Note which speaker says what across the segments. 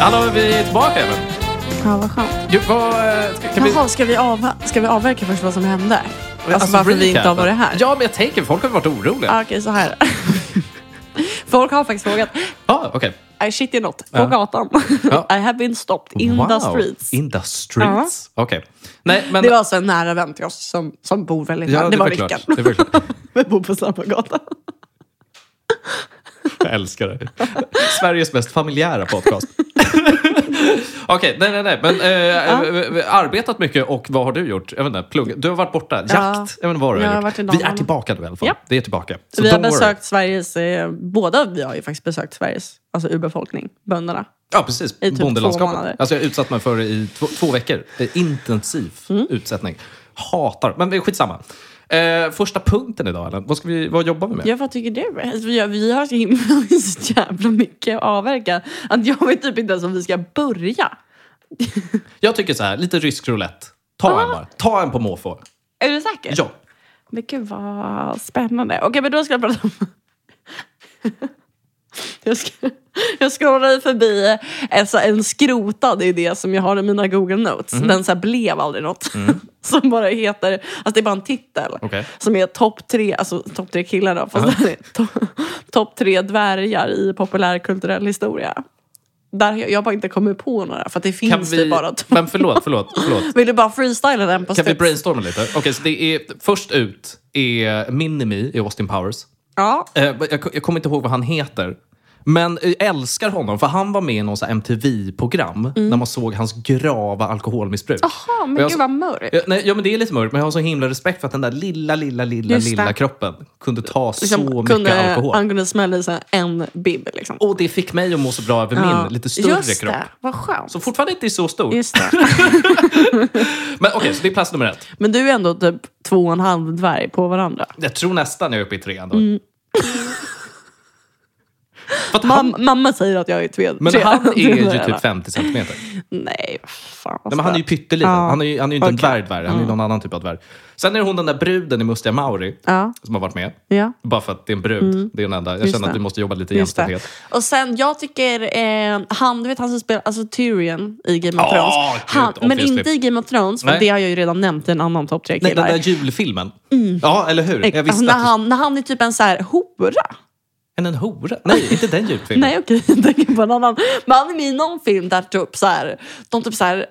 Speaker 1: Hallå, vi är tillbaka även.
Speaker 2: Ja, vad skönt.
Speaker 1: Du, vad, eh, ska, kan vi,
Speaker 2: Jaha, ska vi, avva- ska vi avverka först vad som hände? Alltså, varför vi inte har
Speaker 1: recapen.
Speaker 2: varit här?
Speaker 1: Ja, men jag tänker, folk har varit oroliga.
Speaker 2: Ah, Okej, så här. Folk har faktiskt frågat.
Speaker 1: ah, okej.
Speaker 2: I shit in not. På
Speaker 1: Ja.
Speaker 2: gatan.
Speaker 1: Ja.
Speaker 2: I have been stopped in the streets.
Speaker 1: In the streets. Okej. Nej, men...
Speaker 2: det var alltså en nära vän till oss som, som bor väldigt
Speaker 1: ja,
Speaker 2: nära. Det, var
Speaker 1: klart.
Speaker 2: Rickard.
Speaker 1: Det var klart.
Speaker 2: Vi bor på samma gata.
Speaker 1: Jag älskar det. Sveriges mest familjära podcast. Okej, nej, nej, nej. Men eh, eh, arbetat mycket och vad har du gjort? Jag vet inte, plugg. Du har varit borta. Jakt.
Speaker 2: Ja.
Speaker 1: Jag vet inte vad du
Speaker 2: Jag har
Speaker 1: har
Speaker 2: varit i
Speaker 1: gjort. Vi är
Speaker 2: Dalarna.
Speaker 1: tillbaka nu i alla fall.
Speaker 2: Ja.
Speaker 1: Det är tillbaka. Så
Speaker 2: vi har
Speaker 1: don't worry.
Speaker 2: besökt Sveriges, eh, båda vi har ju faktiskt besökt Sveriges, alltså urbefolkning, bönderna.
Speaker 1: Ja, precis.
Speaker 2: i typ två
Speaker 1: Bondelandskapet.
Speaker 2: månader.
Speaker 1: Alltså jag har utsatt mig för det i två, två veckor. Det är intensiv
Speaker 2: Mm.
Speaker 1: utsättning. Hatar. Men skitsamma. Eh, första punkten idag, Ellen. Vad, ska vi, vad jobbar vi med?
Speaker 2: Ja, vad tycker du? Alltså, Vi har, vi har så, himla, så jävla mycket att avverka att jag vet typ inte ens om vi ska börja.
Speaker 1: Jag tycker så här, lite rysk roulette. Ta en bara. Ta en på måfå.
Speaker 2: Är du säker?
Speaker 1: Ja.
Speaker 2: Men gud vad spännande. Okej, men då ska jag prata om... jag, ska, jag scrollade förbi en, så- en skrotad idé som jag har i mina Google Notes.
Speaker 1: Mhm.
Speaker 2: Den så här blev aldrig något. som bara heter... Alltså det är bara en titel.
Speaker 1: Okej.
Speaker 2: Som är topp tre, alltså topp tre killar då. Fast det är to- topp tre dvärgar i populärkulturell historia. Där jag, jag har bara inte kommit på några. För att det
Speaker 1: Kan
Speaker 2: finns ju
Speaker 1: vi...
Speaker 2: bara två.
Speaker 1: Men förlåt, förlåt, förlåt.
Speaker 2: Vill du bara freestyla den på
Speaker 1: Kan vi
Speaker 2: studs?
Speaker 1: brainstorma lite? Okej, så det är först ut är Minimi i Austin Powers.
Speaker 2: Ja.
Speaker 1: Eh, jag, jag kommer inte ihåg vad han heter. Men jag älskar honom, för han var med i någon så här MTV-program
Speaker 2: Mm.
Speaker 1: när man såg hans grava alkoholmissbruk.
Speaker 2: Jaha, men
Speaker 1: Och jag-
Speaker 2: gud vad mörkt.
Speaker 1: Ja, nej, ja, men det är lite mörkt, men jag har så himla respekt för att den där lilla, lilla, lilla,
Speaker 2: Just det.
Speaker 1: lilla kroppen kunde ta
Speaker 2: liksom,
Speaker 1: så mycket
Speaker 2: kunde,
Speaker 1: alkohol.
Speaker 2: Han kunde smälla i så här en bib. Liksom.
Speaker 1: Och det fick mig att må så bra över
Speaker 2: Ja.
Speaker 1: min lite större
Speaker 2: Just
Speaker 1: kropp.
Speaker 2: Det, vad skönt.
Speaker 1: Så fortfarande inte så stor.
Speaker 2: Just det.
Speaker 1: Men okej, så det är plats nummer ett.
Speaker 2: Men du är ändå typ två och en halv dvärg på varandra.
Speaker 1: Jag tror nästan jag är uppe i trean då.
Speaker 2: Mm.
Speaker 1: För att han,
Speaker 2: Mam, mamma säger att jag är tve.
Speaker 1: men
Speaker 2: tre-
Speaker 1: han är ju
Speaker 2: tredjedel.
Speaker 1: typ 50 centimeter.
Speaker 2: Nej, fan alltså. vad
Speaker 1: Nej, men han är ju
Speaker 2: stört.
Speaker 1: pytteliten.
Speaker 2: Ja.
Speaker 1: Han är ju, han är ju inte en
Speaker 2: Okej.
Speaker 1: dvärg dvärg. Han är ju någon annan typ av dvärg. Sen är det hon den där bruden i Mustiga Mauri
Speaker 2: Ja,
Speaker 1: som har varit med.
Speaker 2: ja. Mm.
Speaker 1: Bara för att det är en brud. Det är den enda. Jag
Speaker 2: Just
Speaker 1: känner att
Speaker 2: det.
Speaker 1: vi måste jobba lite
Speaker 2: Just det.
Speaker 1: jämställdhet.
Speaker 2: Och sen, jag tycker eh, han, du vet han som spelar, alltså Tyrion i Game of
Speaker 1: Ja,
Speaker 2: Thrones.
Speaker 1: Ah, gud,
Speaker 2: han, men
Speaker 1: obviously.
Speaker 2: inte i Game of Thrones, för
Speaker 1: Nej.
Speaker 2: det har jag ju redan nämnt i en annan topp tre
Speaker 1: Nej, den
Speaker 2: killar.
Speaker 1: där julfilmen. Ja, eller hur? Jag visste
Speaker 2: alltså, när,
Speaker 1: att du...
Speaker 2: Mm. han, när han är typ en så här hora.
Speaker 1: En, en hora? Nej, inte den julfilmen.
Speaker 2: Nej okej, jag tänker på en annan. Men han är med i någon film där typ så här, de typ så här,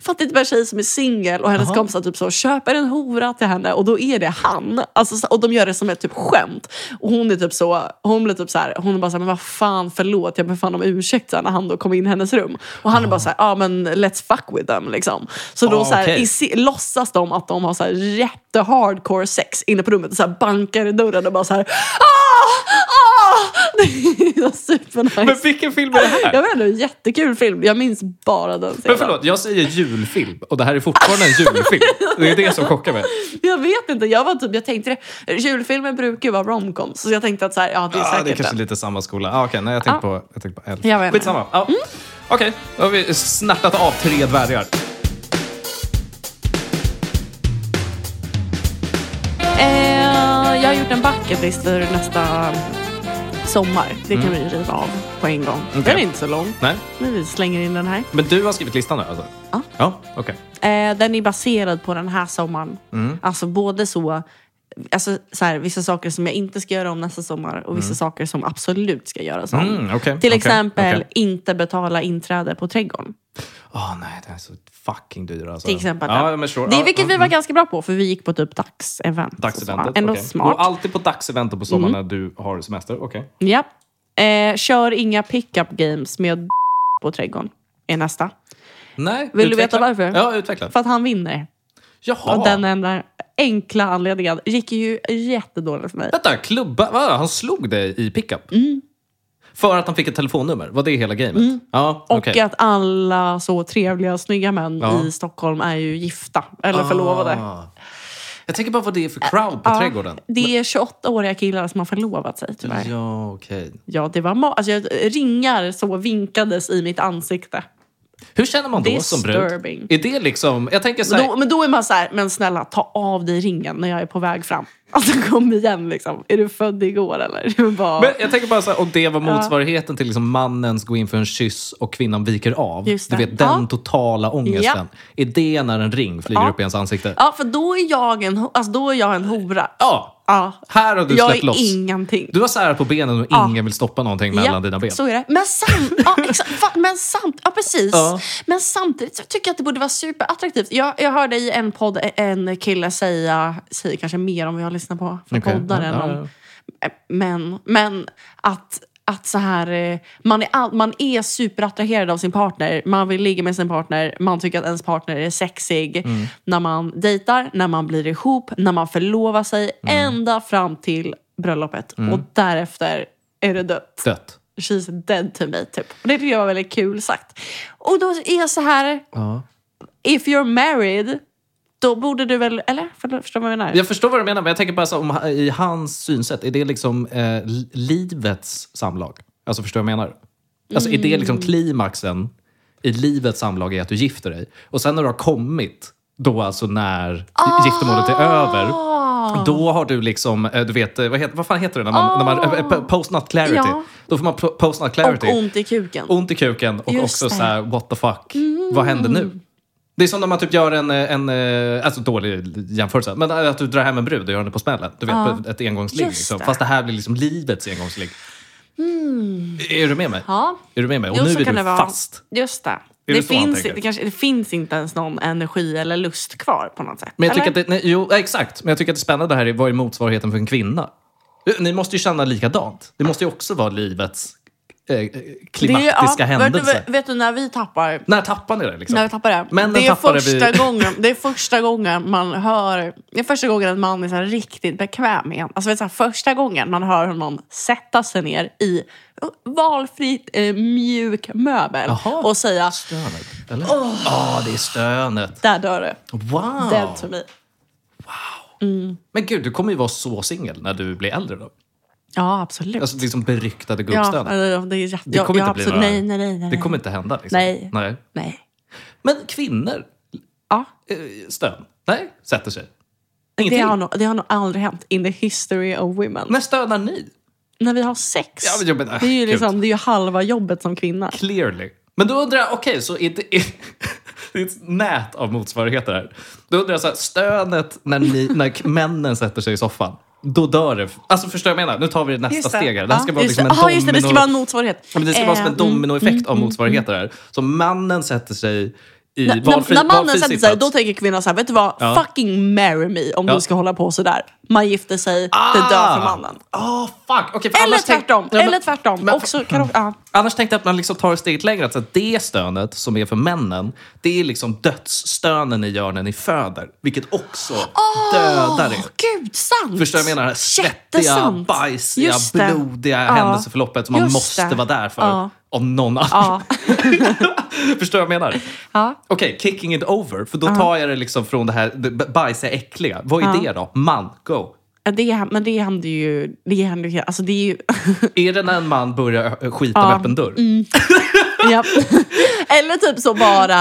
Speaker 2: fattar inte bara tjej som är singel och hennes
Speaker 1: Aha.
Speaker 2: kompisar typ så köper en hora till henne och då är det han. Alltså, så- och de gör det som ett typ skämt. Och hon är typ så, hon blir typ så här, hon är bara så här, men vad fan förlåt, jag ber fan om ursäkt så här, när han då kom in i hennes rum. Och han är bara så här, ja ah, men let's fuck with them liksom. Så då
Speaker 1: Ah,
Speaker 2: så här,
Speaker 1: okej.
Speaker 2: i se- låtsas de att de har så här jätte hardcore sex inne på rummet och så här bankar i dörren och bara så här ah, ah! Det är supernice.
Speaker 1: Men vilken film är det här?
Speaker 2: Jag vet inte, en jättekul film. Jag minns bara den
Speaker 1: Men
Speaker 2: scenen.
Speaker 1: förlåt, jag säger julfilm och det här är fortfarande en julfilm. Det är det som chockar mig.
Speaker 2: Jag vet inte, jag var typ, jag tänkte det. Julfilmer brukar ju vara romcoms. Så jag tänkte att så här, ja det är
Speaker 1: Ah, det är
Speaker 2: säkert
Speaker 1: kanske
Speaker 2: den.
Speaker 1: lite samma skola. Ah, Okej, nej jag tänkte på, jag tänkte på elf.
Speaker 2: Jag Mm. vet inte.
Speaker 1: Skitsamma. Ah. Okej, då har vi snärtat av tre dvärgar.
Speaker 2: Eh, jag har gjort en bucket list för nästa sommar. Det kan vi riva av på en gång.
Speaker 1: Mm. Okej.
Speaker 2: Den är inte så lång.
Speaker 1: Nej,
Speaker 2: Men vi slänger in den här.
Speaker 1: men du har skrivit listan nu alltså?
Speaker 2: Ja.
Speaker 1: Ja, okej.
Speaker 2: Eh, den är baserad på den här sommaren.
Speaker 1: Mm.
Speaker 2: Alltså både så, alltså, så här, vissa saker som jag inte ska göra om nästa sommar och vissa saker som absolut ska göras om.
Speaker 1: Mm, okej,
Speaker 2: Till
Speaker 1: okej,
Speaker 2: exempel
Speaker 1: okej.
Speaker 2: inte betala inträde på trädgården.
Speaker 1: Ah nej, det är så fucking dyr alltså.
Speaker 2: Till exempel.
Speaker 1: Ja, men sure.
Speaker 2: Det
Speaker 1: Ja,
Speaker 2: är vilket vi var ganska bra på för vi gick på typ dagsevent.
Speaker 1: Dagseventet.
Speaker 2: Så, Ändå
Speaker 1: okej.
Speaker 2: smart. Mm.
Speaker 1: Gå alltid på dagseventen på sommaren när du har semester. Okej.
Speaker 2: Ja. Eh, kör inga pickup games med på trädgården. Är nästa.
Speaker 1: Nej,
Speaker 2: Vill du
Speaker 1: utveckla.
Speaker 2: veta varför?
Speaker 1: Ja, utveckla.
Speaker 2: För att han vinner.
Speaker 1: Jaha.
Speaker 2: Av den enda enkla anledningen. gick ju jättedåligt för mig.
Speaker 1: Vänta, klubba? Va? Han slog dig i pickup?
Speaker 2: Mm.
Speaker 1: För att han fick ett telefonnummer? Var det hela gamet? Ja,
Speaker 2: Och
Speaker 1: okej.
Speaker 2: att alla så trevliga, snygga män
Speaker 1: Ja.
Speaker 2: i Stockholm är ju gifta eller förlovade. Ah.
Speaker 1: Ah. Jag tänker bara vad det är för crowd på
Speaker 2: Ja,
Speaker 1: trädgården.
Speaker 2: Det är 28-åriga killar som har förlovat sig tyvärr. Ja,
Speaker 1: Ja, okej.
Speaker 2: det var ma- alltså, jag, ringar så vinkades i mitt ansikte.
Speaker 1: Hur känner man då som
Speaker 2: Disturbing.
Speaker 1: brud? Är det liksom, jag tänker så
Speaker 2: Men
Speaker 1: här,
Speaker 2: då, men då är man så här, men snälla ta av dig ringen när jag är på väg fram. Alltså kom igen liksom. Är du född igår eller? Det är bara,
Speaker 1: men jag tänker bara så här, om det var motsvarigheten till liksom mannens gå in för en kyss och kvinnan viker av.
Speaker 2: Just
Speaker 1: Du
Speaker 2: det.
Speaker 1: vet, den
Speaker 2: Ja.
Speaker 1: totala ångesten. Är det när en ring flyger
Speaker 2: Ja.
Speaker 1: upp i ens ansikte?
Speaker 2: ja, för då är jag en, ho- alltså, då är jag en hora.
Speaker 1: Ja.
Speaker 2: Ja.
Speaker 1: Här har du
Speaker 2: jag
Speaker 1: släppt
Speaker 2: är
Speaker 1: loss.
Speaker 2: ingenting.
Speaker 1: Du har särat på benen och
Speaker 2: Ja.
Speaker 1: ingen vill stoppa någonting mellan dina ben.
Speaker 2: Så är det. Men, sam ja, exakt, Fa- men, samt ja, precis.
Speaker 1: Ja.
Speaker 2: men samtidigt så tycker jag att det borde vara superattraktivt. Jag, jag hörde i en podd e- en kille säga, säger kanske mer om vi har lyssnat på från
Speaker 1: Okej.
Speaker 2: poddar
Speaker 1: Ja,
Speaker 2: än
Speaker 1: ja,
Speaker 2: om Eh,
Speaker 1: ja.
Speaker 2: men, men att, att så här, eh, man, är all, man är superattraherad av sin partner. Man vill ligga med sin partner. Man tycker att ens partner är sexig.
Speaker 1: Mm.
Speaker 2: När man dejtar, när man blir ihop, när man förlovar sig.
Speaker 1: Mm.
Speaker 2: Ända fram till bröllopet. Och därefter är det dött.
Speaker 1: Dött.
Speaker 2: She's dead to me, typ. Och det tycker jag var väldigt kul sagt. Och då är jag så här,
Speaker 1: Ja.
Speaker 2: if you're married, då borde du väl... Eller? Förlåt, Förstår du vad jag menar?
Speaker 1: Jag förstår vad du menar, men jag tänker bara så, om, ha- i hans synsätt, är det liksom eh, li- livets samlag? Alltså förstår du vad jag menar? Alltså är det
Speaker 2: Mm.
Speaker 1: liksom klimaxen i livets samlag är att du gifter dig? Och sen när du har kommit, då alltså när giftermålet är över,
Speaker 2: Ah.
Speaker 1: då har du liksom, eh, du vet, eh, vad, heter, vad fan heter det när man, när man eh, p- post-not clarity?
Speaker 2: Ja.
Speaker 1: Då får man p- post-not clarity.
Speaker 2: Och ont i kuken.
Speaker 1: ont i kuken och
Speaker 2: Just
Speaker 1: också
Speaker 2: det.
Speaker 1: så här, what the fuck, vad händer nu? Det är som när man typ gör en, en eh, alltså dålig jämförelse, men att du drar hem en brud och gör henne på smällen. Du vet, på ett engångsligg.
Speaker 2: Just
Speaker 1: Liksom.
Speaker 2: det.
Speaker 1: Fast det här blir liksom livets engångsligg. Är du med mig?
Speaker 2: Mm. Ja.
Speaker 1: Är du med mig? Och
Speaker 2: Jo,
Speaker 1: nu
Speaker 2: så
Speaker 1: är
Speaker 2: kan
Speaker 1: du
Speaker 2: det vara.
Speaker 1: fast.
Speaker 2: Just det.
Speaker 1: det
Speaker 2: Det,
Speaker 1: så han
Speaker 2: finns,
Speaker 1: tänker?
Speaker 2: det, kanske, det finns inte ens någon energi eller lust kvar på något sätt.
Speaker 1: Men jag tycker att
Speaker 2: eller?
Speaker 1: det, nej, jo, ja, exakt. Men jag tycker att det spännande här är vad är motsvarigheten för en kvinna? Eh, Ni måste ju känna likadant. Det måste ju också vara livets eh, eh, klimatiska
Speaker 2: ja,
Speaker 1: händelse.
Speaker 2: Vet du, vet du när vi tappar...
Speaker 1: När tappar ni det? Liksom?
Speaker 2: När vi tappar det.
Speaker 1: Männen
Speaker 2: det, är
Speaker 1: tappar det
Speaker 2: första
Speaker 1: vid-
Speaker 2: gången, det är första gången man hör... Det är första gången en man är så här riktigt bekväm igen. Alltså, vet du, så här, första gången man hör honom sätta sig ner i valfritt eh, mjuk möbel
Speaker 1: Jaha.
Speaker 2: och säga
Speaker 1: Stönet, eller? Åh, det är stönet.
Speaker 2: där dör du.
Speaker 1: Wow!
Speaker 2: Dead to me.
Speaker 1: Men gud, du kommer ju vara så singel när du blir äldre då.
Speaker 2: Ja, absolut.
Speaker 1: Alltså liksom beryktade
Speaker 2: ja,
Speaker 1: gubbstönet.
Speaker 2: eller, det, är,
Speaker 1: det kommer
Speaker 2: ja,
Speaker 1: inte bli
Speaker 2: absolut.
Speaker 1: några,
Speaker 2: Nej, nej, nej. nej.
Speaker 1: Det kommer inte hända. Liksom.
Speaker 2: Nej.
Speaker 1: Nej.
Speaker 2: nej.
Speaker 1: Men kvinnor,
Speaker 2: Ja,
Speaker 1: eh, stön. Nej, sätter sig.
Speaker 2: det
Speaker 1: Ingenting.
Speaker 2: har, nog, det har nog aldrig hänt in the history of women.
Speaker 1: När stönar ni?
Speaker 2: När vi har sex.
Speaker 1: Ja, men, jag menar,
Speaker 2: det, är ju
Speaker 1: gud.
Speaker 2: liksom, det är ju halva jobbet som kvinna.
Speaker 1: Clearly. Men då undrar jag, okej, så är det, är, det är ett nät av motsvarigheter här. Då undrar jag, så här, stönet när, ni, när k- männen sätter sig i soffan, då dör det. Alltså förstår du vad jag menar? Nu tar vi det nästa steg här. Det här ska
Speaker 2: Ja,
Speaker 1: vara
Speaker 2: just
Speaker 1: liksom en
Speaker 2: det. Aha, just det, det ska
Speaker 1: domino-
Speaker 2: vara en motsvarighet.
Speaker 1: Ja, Men det ska vara som en
Speaker 2: Eh, mm.
Speaker 1: dominoeffekt av motsvarigheter här. Så mannen sätter sig i
Speaker 2: När,
Speaker 1: valfri,
Speaker 2: när mannen
Speaker 1: valfri
Speaker 2: sätter sig,
Speaker 1: sittplats.
Speaker 2: då tänker kvinnan så här, vet du vad?
Speaker 1: Ja.
Speaker 2: Fucking marry me om
Speaker 1: Ja.
Speaker 2: du ska hålla på sådär. Man gifter sig, det dör för mannen.
Speaker 1: Ah, ah, fuck. Okej, för
Speaker 2: Eller
Speaker 1: annars tänk-
Speaker 2: tvärtom.
Speaker 1: Ja, men-
Speaker 2: eller tvärtom.
Speaker 1: men-
Speaker 2: Också, kan, ja.
Speaker 1: Annars tänkte jag att man liksom tar ett steg längre. Att så att det stönet som är för männen, det är liksom dödsstönen ni gör när ni föder. Vilket också dödar er.
Speaker 2: Åh, gud, sant!
Speaker 1: Förstår du vad jag menar? Svettiga,
Speaker 2: Jättesant.
Speaker 1: bajsiga,
Speaker 2: Just det.
Speaker 1: blodiga
Speaker 2: Ja.
Speaker 1: händelseförloppet som man
Speaker 2: Just
Speaker 1: måste
Speaker 2: det.
Speaker 1: vara där för.
Speaker 2: Ja.
Speaker 1: Av någon anledning.
Speaker 2: Ja.
Speaker 1: Förstår du vad jag menar?
Speaker 2: Ja.
Speaker 1: Okej, kicking it over. För då tar jag det liksom från det här det b- bajsiga, äckliga. Vad är det då? Man, go.
Speaker 2: Ja, Det, men det händer ju... Det händer ju, alltså det är ju
Speaker 1: Är det när en man börjar ö- ö- skita med öppen dörr?
Speaker 2: Mm. ja. Eller typ så bara...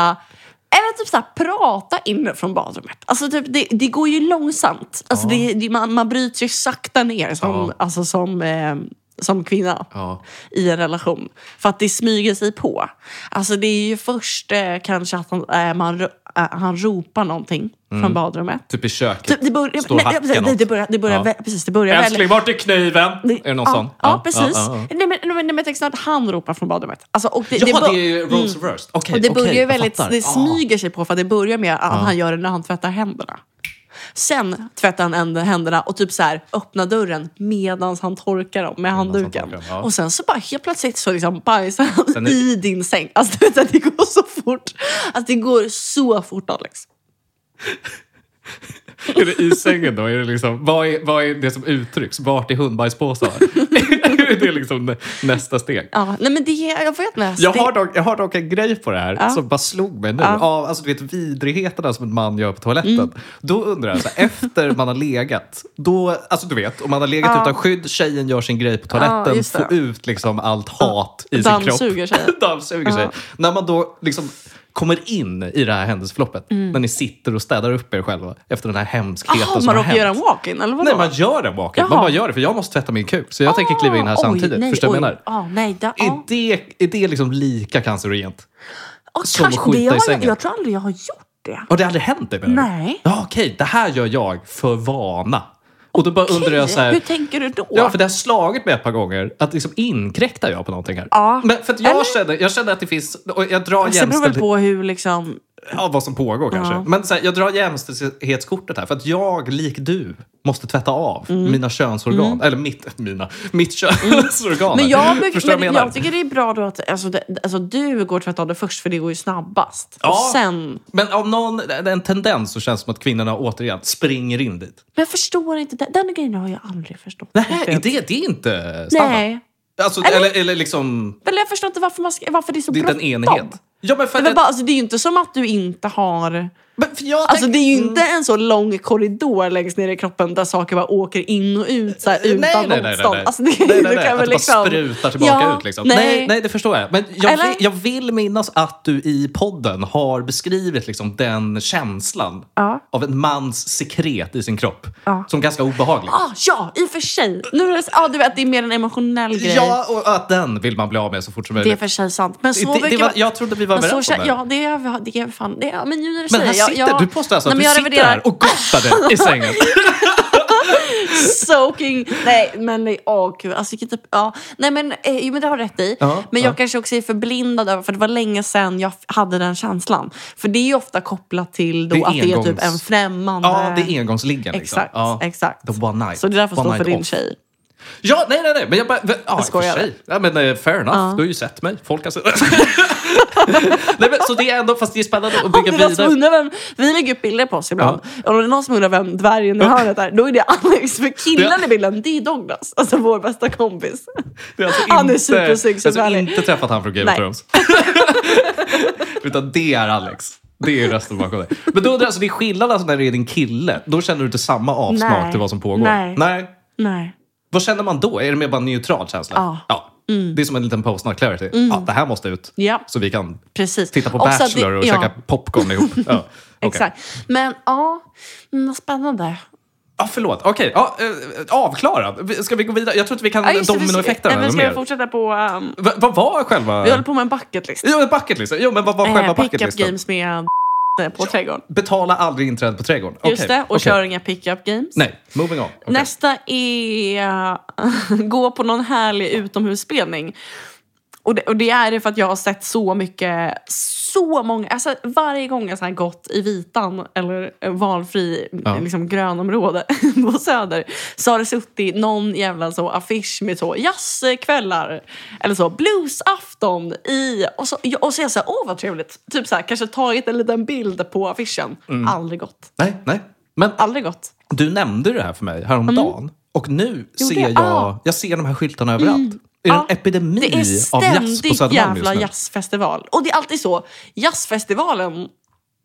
Speaker 2: Eller typ så här, prata inifrån badrummet. Alltså typ, det, det går ju långsamt. Alltså det, det, man, man bryts ju sakta ner som,
Speaker 1: Ja.
Speaker 2: alltså som, eh, som kvinna
Speaker 1: Ja.
Speaker 2: i en relation. För att det smyger sig på. Alltså det är ju först eh, kanske att han, eh, man, ro- eh, han ropar någonting från badrummet.
Speaker 1: Typ i köket.
Speaker 2: Typ, det börjar,
Speaker 1: Står
Speaker 2: nej,
Speaker 1: och hackar
Speaker 2: nej,
Speaker 1: något.
Speaker 2: det, det börjar, det börjar,
Speaker 1: Ja.
Speaker 2: vä- precis, det börjar väldigt-
Speaker 1: Älskling, vart är kniven?
Speaker 2: det-
Speaker 1: Är det någon
Speaker 2: ja,
Speaker 1: sån?
Speaker 2: Ja, precis.
Speaker 1: Ja, ja, ja.
Speaker 2: Nej, men, nej, men, nej, men tänk snart han ropar från badrummet. Alltså, och det,
Speaker 1: ja
Speaker 2: bör- mm.
Speaker 1: det är ju roles reversed. Okej,
Speaker 2: Och det
Speaker 1: okej,
Speaker 2: börjar ju
Speaker 1: jag
Speaker 2: väldigt,
Speaker 1: fattar.
Speaker 2: det
Speaker 1: Ah.
Speaker 2: smyger sig på för att det börjar med att han gör det när han tvättar händerna. Sen tvättar han änd- händerna och typ så här öppnar dörren medan han torkar dem med
Speaker 1: han
Speaker 2: handduken.
Speaker 1: torkar, ja.
Speaker 2: Och sen så bara helt plötsligt så liksom bajsar han
Speaker 1: Sen är-
Speaker 2: i din säng. Alltså du vet att det går så fort. Alltså det går så fort Alex.
Speaker 1: Är det i sängen då? Är det liksom, vad, är, vad är det som uttrycks? Vart är hundbajspåsar? är det liksom nästa steg?
Speaker 2: Ja, nej men det, jag vet inte.
Speaker 1: Jag
Speaker 2: Det-
Speaker 1: har, dock, jag har dock en grej på det här som bara slog mig nu.
Speaker 2: Ja. Mm.
Speaker 1: Av alltså, du vet, vidrigheterna som en man gör på toaletten. Då undrar jag, så här, efter man har legat, då, alltså du vet, om man har legat utan skydd, tjejen gör sin grej på toaletten,
Speaker 2: just det.
Speaker 1: får ut liksom allt hat i sin kropp.
Speaker 2: Dammsuger sig.
Speaker 1: Dammsuger sig. När man då liksom kommer in i det här händelseförloppet,
Speaker 2: Mm.
Speaker 1: när ni sitter och städar upp er själva efter den här hemskheten
Speaker 2: Jaha,
Speaker 1: som
Speaker 2: man
Speaker 1: har
Speaker 2: råkar
Speaker 1: hänt.
Speaker 2: göra en walk-in eller vadå?
Speaker 1: Nej, man gör den walken. Man
Speaker 2: Jaha.
Speaker 1: bara gör det, för jag måste tvätta min kuk. Så jag tänker kliva in här
Speaker 2: Ah, oj,
Speaker 1: samtidigt.
Speaker 2: nej,
Speaker 1: Förstår du vad jag
Speaker 2: oj.
Speaker 1: menar?
Speaker 2: Ja, nej, det,
Speaker 1: Är
Speaker 2: ja.
Speaker 1: det, är det liksom lika cancerogent?
Speaker 2: Ja,
Speaker 1: som
Speaker 2: kanske-
Speaker 1: att skita
Speaker 2: det
Speaker 1: i
Speaker 2: har jag-
Speaker 1: sängen?
Speaker 2: Jag tror aldrig jag har gjort det.
Speaker 1: Har det aldrig hänt dig? menar du?
Speaker 2: Nej.
Speaker 1: Ja, okej. Det här gör jag för vana. Och då bara undrar jag så
Speaker 2: Hur
Speaker 1: här...
Speaker 2: tänker du då?
Speaker 1: Ja, för det har slagit mig ett par gånger att liksom inkräktar jag på någonting här.
Speaker 2: Ja.
Speaker 1: Men för att jag,
Speaker 2: Eller- Alltså,
Speaker 1: känner, jag känner att det finns... Och jag drar
Speaker 2: Sen beror det väl
Speaker 1: jämställdhet...
Speaker 2: på hur liksom...
Speaker 1: Ja, vad som pågår kanske.
Speaker 2: Ja.
Speaker 1: Men så här, jag drar jämställdhetskortet här för att jag, lik du, måste tvätta av
Speaker 2: Mm.
Speaker 1: mina könsorgan. Eller mitt, mina, mitt könsorgan.
Speaker 2: Men jag,
Speaker 1: Förstår du
Speaker 2: men
Speaker 1: vad jag menar?
Speaker 2: jag tycker det är bra då att alltså, det, alltså, du går tvätta av det först för det går ju snabbast.
Speaker 1: Ja.
Speaker 2: Och sen...
Speaker 1: Men av någon en tendens så känns det som att kvinnorna återigen springer in dit.
Speaker 2: Men jag förstår inte. Den, den grejen har jag aldrig förstått.
Speaker 1: Nej,
Speaker 2: riktigt.
Speaker 1: är det, det är inte standard.
Speaker 2: Nej.
Speaker 1: Alltså, eller, eller, liksom,
Speaker 2: Eller jag förstår inte varför, man ska, varför det är så
Speaker 1: det är inte en
Speaker 2: bråttom.
Speaker 1: enhet. Ja, men för,
Speaker 2: Det, var bara, alltså, det är ju inte som att du inte har...
Speaker 1: men för jag
Speaker 2: Alltså det
Speaker 1: tänker-
Speaker 2: är ju
Speaker 1: Mm,
Speaker 2: inte en så lång korridor längst ner i kroppen där saker bara åker in och ut så här, utan
Speaker 1: nej, nej, nej, nej.
Speaker 2: motstånd. Alltså, det,
Speaker 1: Nej,
Speaker 2: du
Speaker 1: nej, nej,
Speaker 2: kan
Speaker 1: att
Speaker 2: väl
Speaker 1: det
Speaker 2: liksom...
Speaker 1: bara sprutar tillbaka
Speaker 2: Ja,
Speaker 1: ut. Liksom.
Speaker 2: nej.
Speaker 1: Nej. Nej, det förstår jag. Men jag,
Speaker 2: Eller-
Speaker 1: vill, jag vill minnas att du i podden har beskrivit liksom den känslan
Speaker 2: Ja.
Speaker 1: av en mans sekret i sin kropp
Speaker 2: Ja.
Speaker 1: som ganska obehaglig.
Speaker 2: Ah, ja, i och för sig. Nu är det, ah, du vet, det är mer en emotionell grej.
Speaker 1: Ja, och att den vill man bli av med så fort som
Speaker 2: Det är
Speaker 1: möjligt.
Speaker 2: för sig sant. Men så
Speaker 1: Det- det
Speaker 2: brukar
Speaker 1: var- jag trodde vi var
Speaker 2: men så
Speaker 1: överens om
Speaker 2: kä-
Speaker 1: det.
Speaker 2: Ja, det är vi- det är vi fan. Det är, men nu när du
Speaker 1: Men
Speaker 2: säger
Speaker 1: här
Speaker 2: jag-
Speaker 1: sitter,
Speaker 2: jag-
Speaker 1: du påstår alltså
Speaker 2: Nej,
Speaker 1: att du
Speaker 2: men jag
Speaker 1: sitter
Speaker 2: reviderar.
Speaker 1: här och gottar dig i sängen.
Speaker 2: Soaking. Nej, men nej, åh gud. Alltså, vilket typ, ja. Nej, men, eh, jo, men det har du rätt i.
Speaker 1: Ja,
Speaker 2: men jag
Speaker 1: ja.
Speaker 2: kanske också är förblindad över, för det var länge sedan jag f- hade den känslan. För det är ju ofta kopplat till då
Speaker 1: Det är
Speaker 2: att det är typ
Speaker 1: engångs-
Speaker 2: en främmande...
Speaker 1: Ja, det är engångsliggen. Liksom.
Speaker 2: Exakt,
Speaker 1: ja.
Speaker 2: exakt.
Speaker 1: The one night.
Speaker 2: Så det är därför det
Speaker 1: One
Speaker 2: står för
Speaker 1: night
Speaker 2: din
Speaker 1: off.
Speaker 2: tjej.
Speaker 1: Ja, nej, nej, nej. Men jag bara... Ja, jag
Speaker 2: skojar.
Speaker 1: för sig. Ja, men eh, fair enough. Du har ju sett mig. Folk har sett... nej, men, så det är ändå... Fast det är spännande att
Speaker 2: Om det
Speaker 1: bygga
Speaker 2: är alltså någon som
Speaker 1: vidare.
Speaker 2: undrar vem, vi lägger upp bilder på oss ibland. Och om det är någon som undrar vem dvärgen i hörnet är, då är det Alex. För killen i bilden, det är Douglas. Alltså vår bästa kompis.
Speaker 1: Det är alltså inte,
Speaker 2: Han är supersnygg som
Speaker 1: alltså
Speaker 2: vanligt.
Speaker 1: inte träffat han från Game
Speaker 2: Nej.
Speaker 1: of Thrones. Utan det är Alex. Det är rösten bakom dig. Men då undrar jag, alltså, det är skillnad alltså, när det är din kille. Då känner du inte samma avsmak
Speaker 2: Nej.
Speaker 1: till vad som pågår.
Speaker 2: Nej.
Speaker 1: nej.
Speaker 2: Nej.
Speaker 1: Vad känner man då? Är det mer bara en neutral känsla?
Speaker 2: Ja. Mm.
Speaker 1: Det är som en liten post-not clarity. Ja, det här måste ut.
Speaker 2: Ja.
Speaker 1: Så vi kan
Speaker 2: Precis.
Speaker 1: titta på
Speaker 2: Och så att det-
Speaker 1: Bachelor och
Speaker 2: ja.
Speaker 1: käka popcorn ihop. Ja. okej.
Speaker 2: Exakt. Men ja, mm, vad spännande.
Speaker 1: Ja, förlåt. Okej, ja, eh, avklara. Vi- Ska vi gå vidare? Jag tror inte vi kan
Speaker 2: Ja, just det, vi ska-
Speaker 1: dominoeffekterna
Speaker 2: nej,
Speaker 1: ännu
Speaker 2: Vi ska
Speaker 1: mer.
Speaker 2: fortsätta på... ehm,
Speaker 1: Va- Vad var själva...
Speaker 2: vi håller på med en bucket list.
Speaker 1: Jo, en bucket list. Jo, men vad var själva
Speaker 2: Eh,
Speaker 1: bucket
Speaker 2: pickup
Speaker 1: listen?
Speaker 2: games med eh, på trädgården.
Speaker 1: Betala aldrig inträde på trädgården. Okej,
Speaker 2: Just det, och
Speaker 1: okej.
Speaker 2: kör inga pickup games.
Speaker 1: Nej, moving on. Okej.
Speaker 2: Nästa är gå på någon härlig utomhusspelning. Och det, och det är det för att jag har sett så mycket, så många, alltså varje gång jag så här gått i Vitan eller eh, valfri
Speaker 1: Ja.
Speaker 2: liksom, grönområde på Söder så har det suttit någon jävla så affisch med så jazzkvällar eller så bluesafton i och så, och så är jag så här, åh vad trevligt, typ så här, kanske tagit en liten bild på affischen.
Speaker 1: Mm.
Speaker 2: Aldrig gått,
Speaker 1: Nej, nej. Men ah,
Speaker 2: aldrig gått.
Speaker 1: Du nämnde det här för mig häromdagen. Och nu ser jag,
Speaker 2: Mm. ah.
Speaker 1: jag ser de här skyltarna överallt. Är det
Speaker 2: Ah.
Speaker 1: en epidemi
Speaker 2: Det är
Speaker 1: av jazz på
Speaker 2: ständig
Speaker 1: Södermalm
Speaker 2: jävla
Speaker 1: just nu?
Speaker 2: jazzfestival. Och det är alltid så. Jazzfestivalen...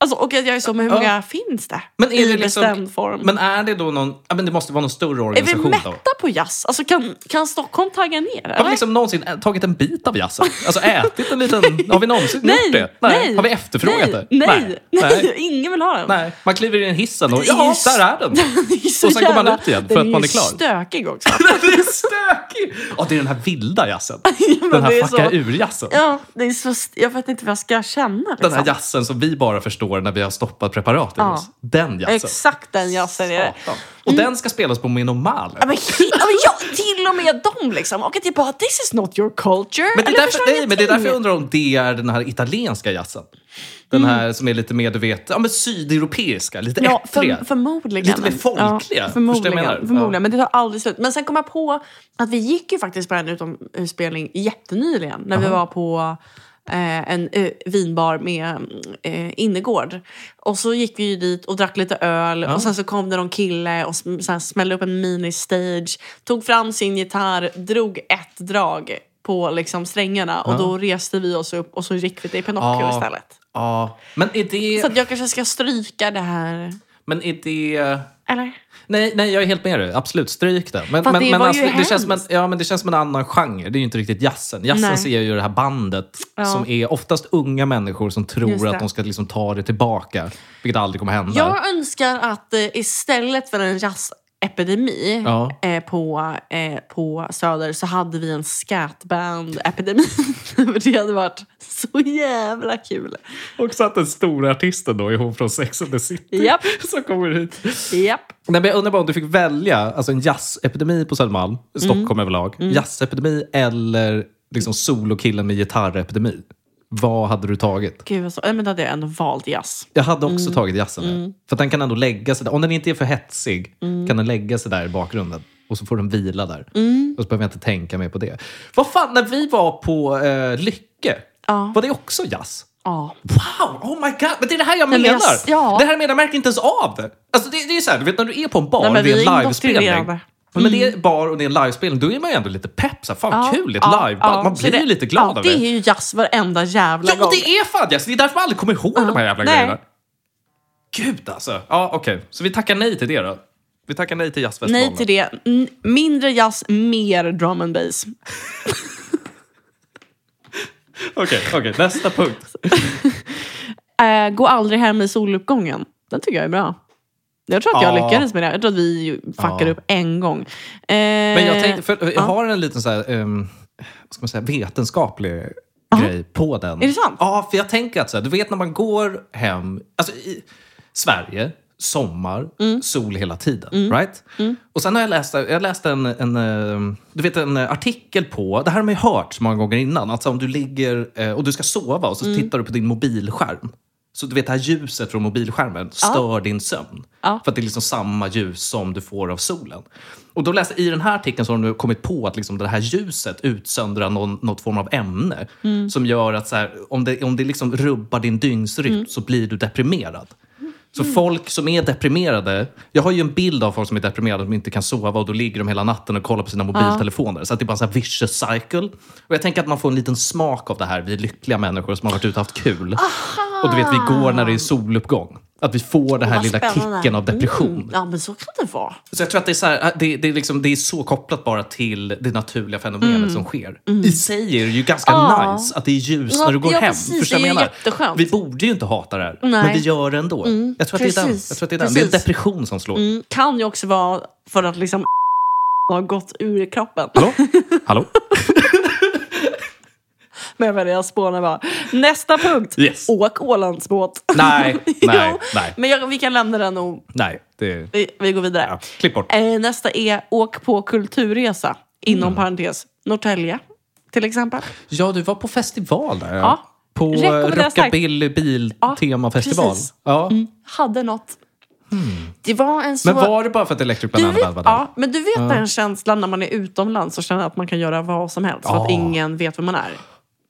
Speaker 2: Alltså, och att jag är så, men hur
Speaker 1: Ja.
Speaker 2: många finns det?
Speaker 1: Men är
Speaker 2: I
Speaker 1: det liksom-
Speaker 2: bestämd form.
Speaker 1: Men är det då någon... Ja, men det måste vara någon större
Speaker 2: är vi
Speaker 1: organisation då.
Speaker 2: mätta på jazz? Alltså, kan, kan Stockholm tagga ner?
Speaker 1: Har
Speaker 2: Eller?
Speaker 1: vi liksom någonsin ä- tagit en bit av jazzen? Alltså ätit en liten... Har vi någonsin
Speaker 2: Nej,
Speaker 1: gjort det?
Speaker 2: nej,
Speaker 1: Har vi efterfrågat
Speaker 2: nej,
Speaker 1: det?
Speaker 2: Nej, nej,
Speaker 1: nej.
Speaker 2: ingen vill ha den.
Speaker 1: nej. Man kliver in i hissen och
Speaker 2: Det är
Speaker 1: ja,
Speaker 2: ju
Speaker 1: där är den!
Speaker 2: Det är så
Speaker 1: Och sen går man
Speaker 2: jävla-
Speaker 1: ut igen för att man är klar.
Speaker 2: Den är ju stökig också.
Speaker 1: det är stökigt! Ja, det är den här vilda jazzen.
Speaker 2: men
Speaker 1: Den
Speaker 2: det är
Speaker 1: här
Speaker 2: så-
Speaker 1: fucka ur-jazzen.
Speaker 2: Ja, det är så, st- jag vet inte vad jag ska känna. Liksom.
Speaker 1: Den här jazzen som vi bara förstår när vi har stoppat preparat i
Speaker 2: Ja.
Speaker 1: oss. Den jazzen.
Speaker 2: Exakt den jazzen är det. Mm.
Speaker 1: Satan. Och den ska spelas på Minimal.
Speaker 2: Ja, men, he- ja, men jag, till och med dem liksom. Och att jag bara, this is not your culture.
Speaker 1: Men det, är
Speaker 2: Eller
Speaker 1: därför,
Speaker 2: förstår
Speaker 1: nej, men det är
Speaker 2: ingenting.
Speaker 1: därför jag undrar om det är den här italienska jazzen. Den här som är lite mer, du vet, ja, men sydeuropeiska, lite
Speaker 2: Mm. Ja,
Speaker 1: äckliga.
Speaker 2: för, förmodligen.
Speaker 1: Lite mer folkliga. Förstår jag
Speaker 2: Ja,
Speaker 1: vad
Speaker 2: förmodligen.
Speaker 1: jag menar?
Speaker 2: förmodligen.
Speaker 1: Ja.
Speaker 2: Men det tar aldrig slut. Men sen kom jag på att vi gick ju faktiskt på en utomhusspelning jättenyligen. När vi var på eh, en eh, vinbar med eh, innergård. Och så gick vi ju dit och drack lite öl och sen så kom det någon kille och sm- så här smällde upp en mini-stage, tog fram sin gitarr, drog ett drag på liksom strängarna och då reste vi oss upp och så gick vi till Pinocchio
Speaker 1: Ja.
Speaker 2: istället.
Speaker 1: Ja. Men är det...
Speaker 2: Så att jag kanske ska stryka det här.
Speaker 1: Men är det...
Speaker 2: Eller?
Speaker 1: Nej, nej, jag är helt med dig. Absolut, stryk det. Men,
Speaker 2: Fast det
Speaker 1: men, men,
Speaker 2: var ju
Speaker 1: det, känns som en,
Speaker 2: hemskt.
Speaker 1: ja, men det känns som en annan genre. Det är ju inte riktigt jazzen. Jazzen
Speaker 2: Nej.
Speaker 1: ser ju det här bandet
Speaker 2: Ja.
Speaker 1: som är oftast unga människor som
Speaker 2: Just
Speaker 1: tror
Speaker 2: det.
Speaker 1: att de ska liksom ta det tillbaka, vilket aldrig kommer hända.
Speaker 2: Jag önskar att eh, istället för en jazzepidemi
Speaker 1: Ja.
Speaker 2: eh, på, eh, på Söder så hade vi en skatband-epidemi. För det hade varit så jävla kul.
Speaker 1: Också att den stora artisten då är hon från Sex and the City
Speaker 2: Japp.
Speaker 1: som kommer hit.
Speaker 2: Japp.
Speaker 1: Nej, men jag undrar bara om du fick välja alltså en jazzepidemi på Södermalm, Stockholm
Speaker 2: Mm.
Speaker 1: överlag, jazzepidemi eller liksom solokillen med gitarrepidemi. Vad hade du tagit?
Speaker 2: Gud, alltså, men då hade jag ändå valt jazz.
Speaker 1: Jag hade också
Speaker 2: Mm.
Speaker 1: tagit jazzen. där. För att den kan ändå lägga sig där. Om den inte är för hetsig
Speaker 2: Mm.
Speaker 1: kan den lägga sig där i bakgrunden. Och så får den vila där.
Speaker 2: Mm.
Speaker 1: Och så behöver jag inte tänka mer på det. Vad fan, när vi var på eh, Lycke,
Speaker 2: Ja.
Speaker 1: var det också jazz?
Speaker 2: Ja.
Speaker 1: Wow! Oh my god! Men det är det här jag
Speaker 2: Nej,
Speaker 1: menar!
Speaker 2: men jag s- ja.
Speaker 1: Det här menar jag märker inte ens av det. Alltså det, det är ju så här, du vet när du är på en bar,
Speaker 2: Nej, men
Speaker 1: det
Speaker 2: vi
Speaker 1: är
Speaker 2: är
Speaker 1: en livespelning.
Speaker 2: indoktrinerade.
Speaker 1: Men det är bar och det är en livespelning, då är man ju ändå lite pepp. Så här, fan
Speaker 2: Mm. Ja.
Speaker 1: kul, ett
Speaker 2: Ja,
Speaker 1: liveband.
Speaker 2: ja.
Speaker 1: Man
Speaker 2: Så
Speaker 1: blir ju lite glad
Speaker 2: ja,
Speaker 1: av
Speaker 2: det.
Speaker 1: det.
Speaker 2: är ju jazz varenda jävla
Speaker 1: Ja,
Speaker 2: gång.
Speaker 1: och det är fan jazz! Det är därför man aldrig kommer ihåg de här jävla
Speaker 2: nej.
Speaker 1: grejerna. Gud alltså! Ja, okej. Så vi tackar nej till det då. Vi tackar nej till jazzfestivalen.
Speaker 2: Nej till det. N- mindre jazz, mer drum and bass.
Speaker 1: Okej, okej. Nästa punkt.
Speaker 2: Eh, gå aldrig hem i soluppgången. Den tycker jag är bra. Jag tror att jag
Speaker 1: Ja.
Speaker 2: lyckades med det. Jag tror att vi ju fuckade
Speaker 1: Ja.
Speaker 2: upp en gång. Eh,
Speaker 1: Men jag tänkte, för jag
Speaker 2: ja.
Speaker 1: har en liten så här, ehm, vad ska man säga, vetenskaplig grej på den.
Speaker 2: Är det sant?
Speaker 1: Ja, för jag tänker att så här, du vet när man går hem, alltså i Sverige, sommar,
Speaker 2: Mm.
Speaker 1: sol hela tiden. Right? Och sen har jag läst, jag läste en, en, eh, du vet, en eh, artikel på, det här har man ju hört så många gånger innan, att så om du ligger eh, och du ska sova och så
Speaker 2: Mm.
Speaker 1: tittar du på din mobilskärm. Så du vet det här ljuset från mobilskärmen stör din sömn.
Speaker 2: Ja.
Speaker 1: För att det är liksom samma ljus som du får av solen. Och då läste, I den här artikeln så har de nu kommit på att liksom det här ljuset utsöndrar någon, något form av ämne som gör att så här, om det, om det liksom rubbar din dygnsrytm så blir du deprimerad. Så folk som är deprimerade... Jag har ju en bild av folk som är deprimerade som inte kan sova och då ligger de hela natten och kollar på sina mobiltelefoner. Så att det är bara en sån här vicious cycle. Och jag tänker att man får en liten smak av det här, vi lyckliga människor som har varit ute och haft kul. Och du vet, vi går när det är soluppgång. Att vi får den här
Speaker 2: Vad
Speaker 1: lilla
Speaker 2: spännande.
Speaker 1: kicken av depression.
Speaker 2: Mm. Ja, men så kan det vara.
Speaker 1: Så jag tror att det är så, här, det, det är liksom, det är så kopplat bara till det naturliga fenomenet som sker. I sig är det ju ganska
Speaker 2: Mm. Ja.
Speaker 1: nice att det är ljus
Speaker 2: Ja,
Speaker 1: när du går
Speaker 2: ja,
Speaker 1: hem.
Speaker 2: precis.
Speaker 1: Förstår du
Speaker 2: Det är
Speaker 1: vad jag
Speaker 2: ju jätteskönt.
Speaker 1: Vi borde ju inte hata det här,
Speaker 2: Nej. Mm.
Speaker 1: men vi gör det ändå. Jag tror att det är den.
Speaker 2: Precis.
Speaker 1: Jag tror att det, är den. det är en
Speaker 2: Precis.
Speaker 1: depression som slår.
Speaker 2: Mm. Kan ju också vara för att liksom har gått ur kroppen.
Speaker 1: Hallå? Hallå?
Speaker 2: Men vad det jag spånar bara. Nästa punkt.
Speaker 1: Yes.
Speaker 2: Åk Ålandsbåt.
Speaker 1: Nej, nej,
Speaker 2: Jo,
Speaker 1: nej.
Speaker 2: Men jag, vi kan lämna den och
Speaker 1: Nej, det är...
Speaker 2: vi, vi går vidare.
Speaker 1: Ja, klipp bort.
Speaker 2: Eh, nästa är åk på kulturresa. Inom
Speaker 1: Mm.
Speaker 2: parentes Norrtälje till exempel.
Speaker 1: Ja, du var på festival där.
Speaker 2: Ja.
Speaker 1: På eh,
Speaker 2: Rekommenderar starkt.
Speaker 1: Rockabilly
Speaker 2: Ja,
Speaker 1: Biltemafestival.
Speaker 2: precis. Mm.
Speaker 1: Ja.
Speaker 2: Hade något. Det var en svår...
Speaker 1: Men var det bara för att Electric
Speaker 2: Du
Speaker 1: Banana
Speaker 2: vet,
Speaker 1: Band var där?
Speaker 2: ja, men du vet den känslan när man är utomlands och känner att man kan göra vad som helst för att
Speaker 1: Ja.
Speaker 2: ingen vet vem man är.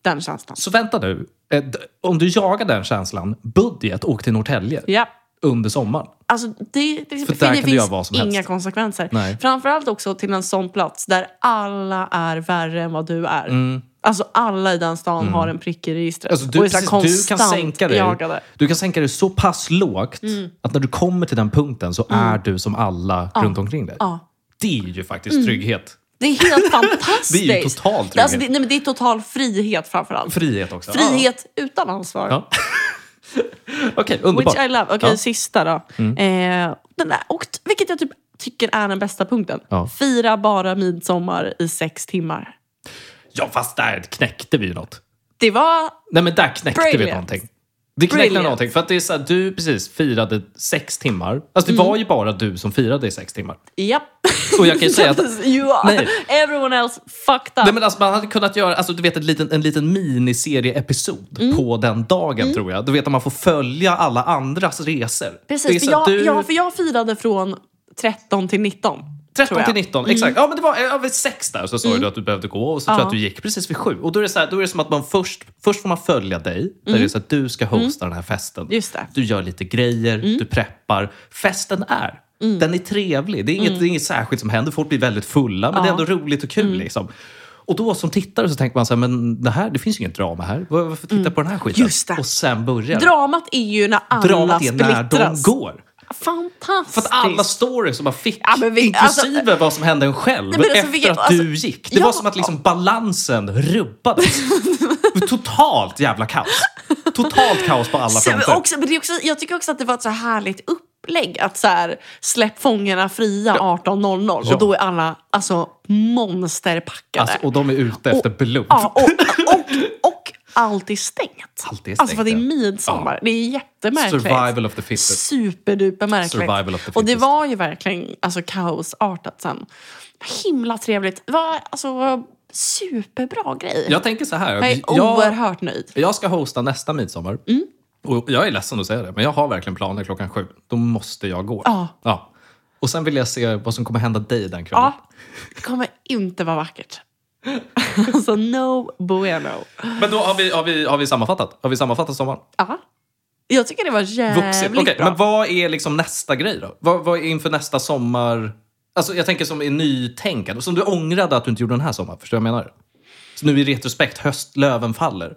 Speaker 2: Den känslan.
Speaker 1: Så vänta nu. Eh, d- Om du jagar den känslan, budget, åk till Norrtälje
Speaker 2: Ja.
Speaker 1: under sommaren.
Speaker 2: Alltså det, det, för
Speaker 1: där kan
Speaker 2: det
Speaker 1: du
Speaker 2: finns
Speaker 1: göra vad som
Speaker 2: inga
Speaker 1: helst.
Speaker 2: konsekvenser.
Speaker 1: Nej.
Speaker 2: Framförallt också till en sån plats där alla är värre än vad du är. Alltså alla i den stan har en prick i registret.
Speaker 1: Mm. Alltså, du,
Speaker 2: och är så här
Speaker 1: precis, du, kan
Speaker 2: konstant
Speaker 1: sänka dig,
Speaker 2: jagade. Mm.
Speaker 1: du kan sänka dig så pass lågt att när du kommer till den punkten så är du som alla runt omkring dig.
Speaker 2: Ja. Mm.
Speaker 1: Det är ju faktiskt trygghet.
Speaker 2: Det är helt fantastiskt.
Speaker 1: Det är ju total trygghet.
Speaker 2: Alltså, det, nej, men det är total frihet framförallt.
Speaker 1: Frihet också.
Speaker 2: Frihet utan ansvar.
Speaker 1: Ja. Ja. Okej, underbart.
Speaker 2: Which I love. Okej,
Speaker 1: Ja. Mm.
Speaker 2: sista då. Eh, den där, och, t- vilket jag typ tycker är den bästa punkten.
Speaker 1: Ja.
Speaker 2: Fira bara midsommar i sex timmar.
Speaker 1: ja, fast där knäckte vi ju något.
Speaker 2: Det var...
Speaker 1: Nej, men där knäckte vi
Speaker 2: Brilliant.
Speaker 1: någonting. Det knäckte
Speaker 2: Brilliant.
Speaker 1: någonting. För att det är så här, du precis firade sex timmar. Alltså det
Speaker 2: Mm.
Speaker 1: var ju bara du som firade i sex timmar.
Speaker 2: Japp.
Speaker 1: Och jag kan ju säga att
Speaker 2: you are.
Speaker 1: Nej.
Speaker 2: Everyone else fucked up.
Speaker 1: Nej, men alltså, man hade kunnat göra alltså, du vet, en liten, en liten miniserieepisod
Speaker 2: Mm.
Speaker 1: på den dagen, tror jag. Du vet att man får följa alla andras resor. Det är
Speaker 2: Precis, för
Speaker 1: så att
Speaker 2: jag,
Speaker 1: du,
Speaker 2: ja, för jag firade från 13 till 19. Tror
Speaker 1: 13
Speaker 2: jag. Mm.
Speaker 1: till 19, exakt. Ja, men det var ja, vid sex där så sa du att du behövde gå och så tror jag att du gick precis vid sju. Och då är det, så här, då är det som att man först, först får man följa dig, där det är så att du ska hosta den här festen.
Speaker 2: Mm. Just det. Mm.
Speaker 1: Du gör lite grejer, du preppar. Festen är. Den är trevlig. Det är, inget,
Speaker 2: Mm.
Speaker 1: det är inget särskilt som händer. Folk blir väldigt fulla, men det är ändå roligt och kul. Liksom. Och då som tittare så tänker man så här, men det, här, det finns ju inget drama här. Var- Varför titta på den här skiten?
Speaker 2: Mm. Just det.
Speaker 1: Och sen börjar det.
Speaker 2: Dramat är ju när alla
Speaker 1: Dramat är när de
Speaker 2: splittras.
Speaker 1: går.
Speaker 2: Fantastiskt!
Speaker 1: För att alla stories som man fick,
Speaker 2: Ja, men vi- alltså-
Speaker 1: inklusive vad som hände en själv
Speaker 2: Nej, men alltså,
Speaker 1: efter
Speaker 2: vilket-
Speaker 1: att
Speaker 2: alltså,
Speaker 1: du gick. Det
Speaker 2: ja.
Speaker 1: var som att liksom balansen rubbades. Det var Totalt jävla kaos. Totalt kaos på alla
Speaker 2: Så-
Speaker 1: fronter.
Speaker 2: Också, men det är också, jag tycker också att det var ett så härligt upplägg. Att så här, släpp fångarna fria 18.00
Speaker 1: Ja.
Speaker 2: och då är alla alltså, monsterpackade.
Speaker 1: Alltså, och de är ute efter blod.
Speaker 2: ja, och, och, och allt är stängt.
Speaker 1: Allt är
Speaker 2: alltså för att det är
Speaker 1: stängt, ja.
Speaker 2: midsommar. Det är jättemärkligt.
Speaker 1: Survival of the fittest.
Speaker 2: Superduper
Speaker 1: Survival of
Speaker 2: märkligt.
Speaker 1: the
Speaker 2: Och det
Speaker 1: fittest.
Speaker 2: var ju verkligen alltså, kaosartat sen. Himla trevligt. Det var alltså superbra grej.
Speaker 1: Jag tänker så här.
Speaker 2: jag är
Speaker 1: jag,
Speaker 2: oerhört Mm. nöjd.
Speaker 1: jag ska hosta nästa midsommar. Och jag är ledsen att säga det, men jag har verkligen planer klockan sju. Då måste jag gå.
Speaker 2: Ja.
Speaker 1: Ja. Och sen vill jag se vad som kommer hända dig den kvällen.
Speaker 2: Ja, det kommer inte vara vackert. Alltså no bueno.
Speaker 1: Men då har vi, har, vi, har vi sammanfattat? Har vi sammanfattat sommaren?
Speaker 2: Ja. Jag tycker det var
Speaker 1: Vuxit.
Speaker 2: jävligt
Speaker 1: Okej,
Speaker 2: Eh, bra.
Speaker 1: men vad är liksom nästa grej då? Vad, vad är inför nästa sommar? Alltså jag tänker som är nytänkande, som du ångrade att du inte gjorde den här sommaren. Förstår du vad jag menar? Så nu i retrospekt, höst, löven faller.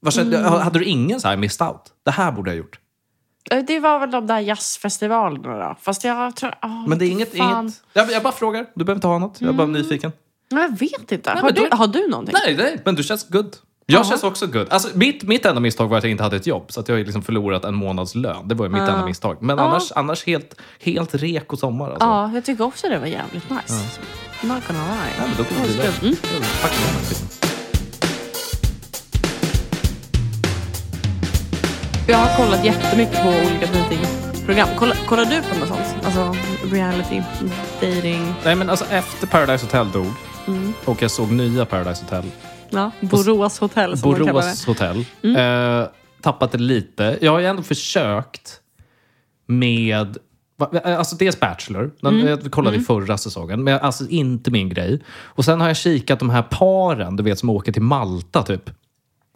Speaker 1: Var,
Speaker 2: Mm.
Speaker 1: Hade du ingen så här missed out? Det här borde jag ha gjort.
Speaker 2: Eh, Det var väl de där jazzfestivalerna då. Fast jag tror... ah,
Speaker 1: Men det är inget...
Speaker 2: fan. Mm.
Speaker 1: inget jag, jag bara frågar. Du behöver inte ha något. Jag är bara nyfiken.
Speaker 2: Men Jag vet inte. har,
Speaker 1: men
Speaker 2: du,
Speaker 1: då-
Speaker 2: har du någonting?
Speaker 1: Nej, nej, men du känns good. Jag
Speaker 2: Jaha.
Speaker 1: känns också good. Alltså, mitt, mitt enda misstag var att jag inte hade ett jobb. Så att jag har liksom förlorat en månads lön. Det var ju
Speaker 2: Ah.
Speaker 1: mitt enda misstag. Men annars, annars helt, helt rek och sommar. Alltså.
Speaker 2: Ja, jag tycker också det var jävligt nice. Not gonna lie.
Speaker 1: Ja, men då går vi vidare.
Speaker 2: Mm.
Speaker 1: Ja, fuck den här skiten.
Speaker 2: Mm. Jag har kollat jättemycket på olika datingprogram. Kollar, kollar du på något sånt? Alltså reality, dating,
Speaker 1: Nej, men alltså efter Paradise Hotel dog
Speaker 2: Mm.
Speaker 1: och jag såg nya Paradise Hotel,
Speaker 2: ja, Borås hotell som man kallar det. Mm.
Speaker 1: Borås Hotel, eh, tappat det lite. Jag har ju ändå försökt med va- Alltså dels Bachelor, den,
Speaker 2: Mm.
Speaker 1: jag kollade i förra säsongen, men alltså inte min grej. Och sen har jag kikat de här paren, du vet som åker till Malta typ.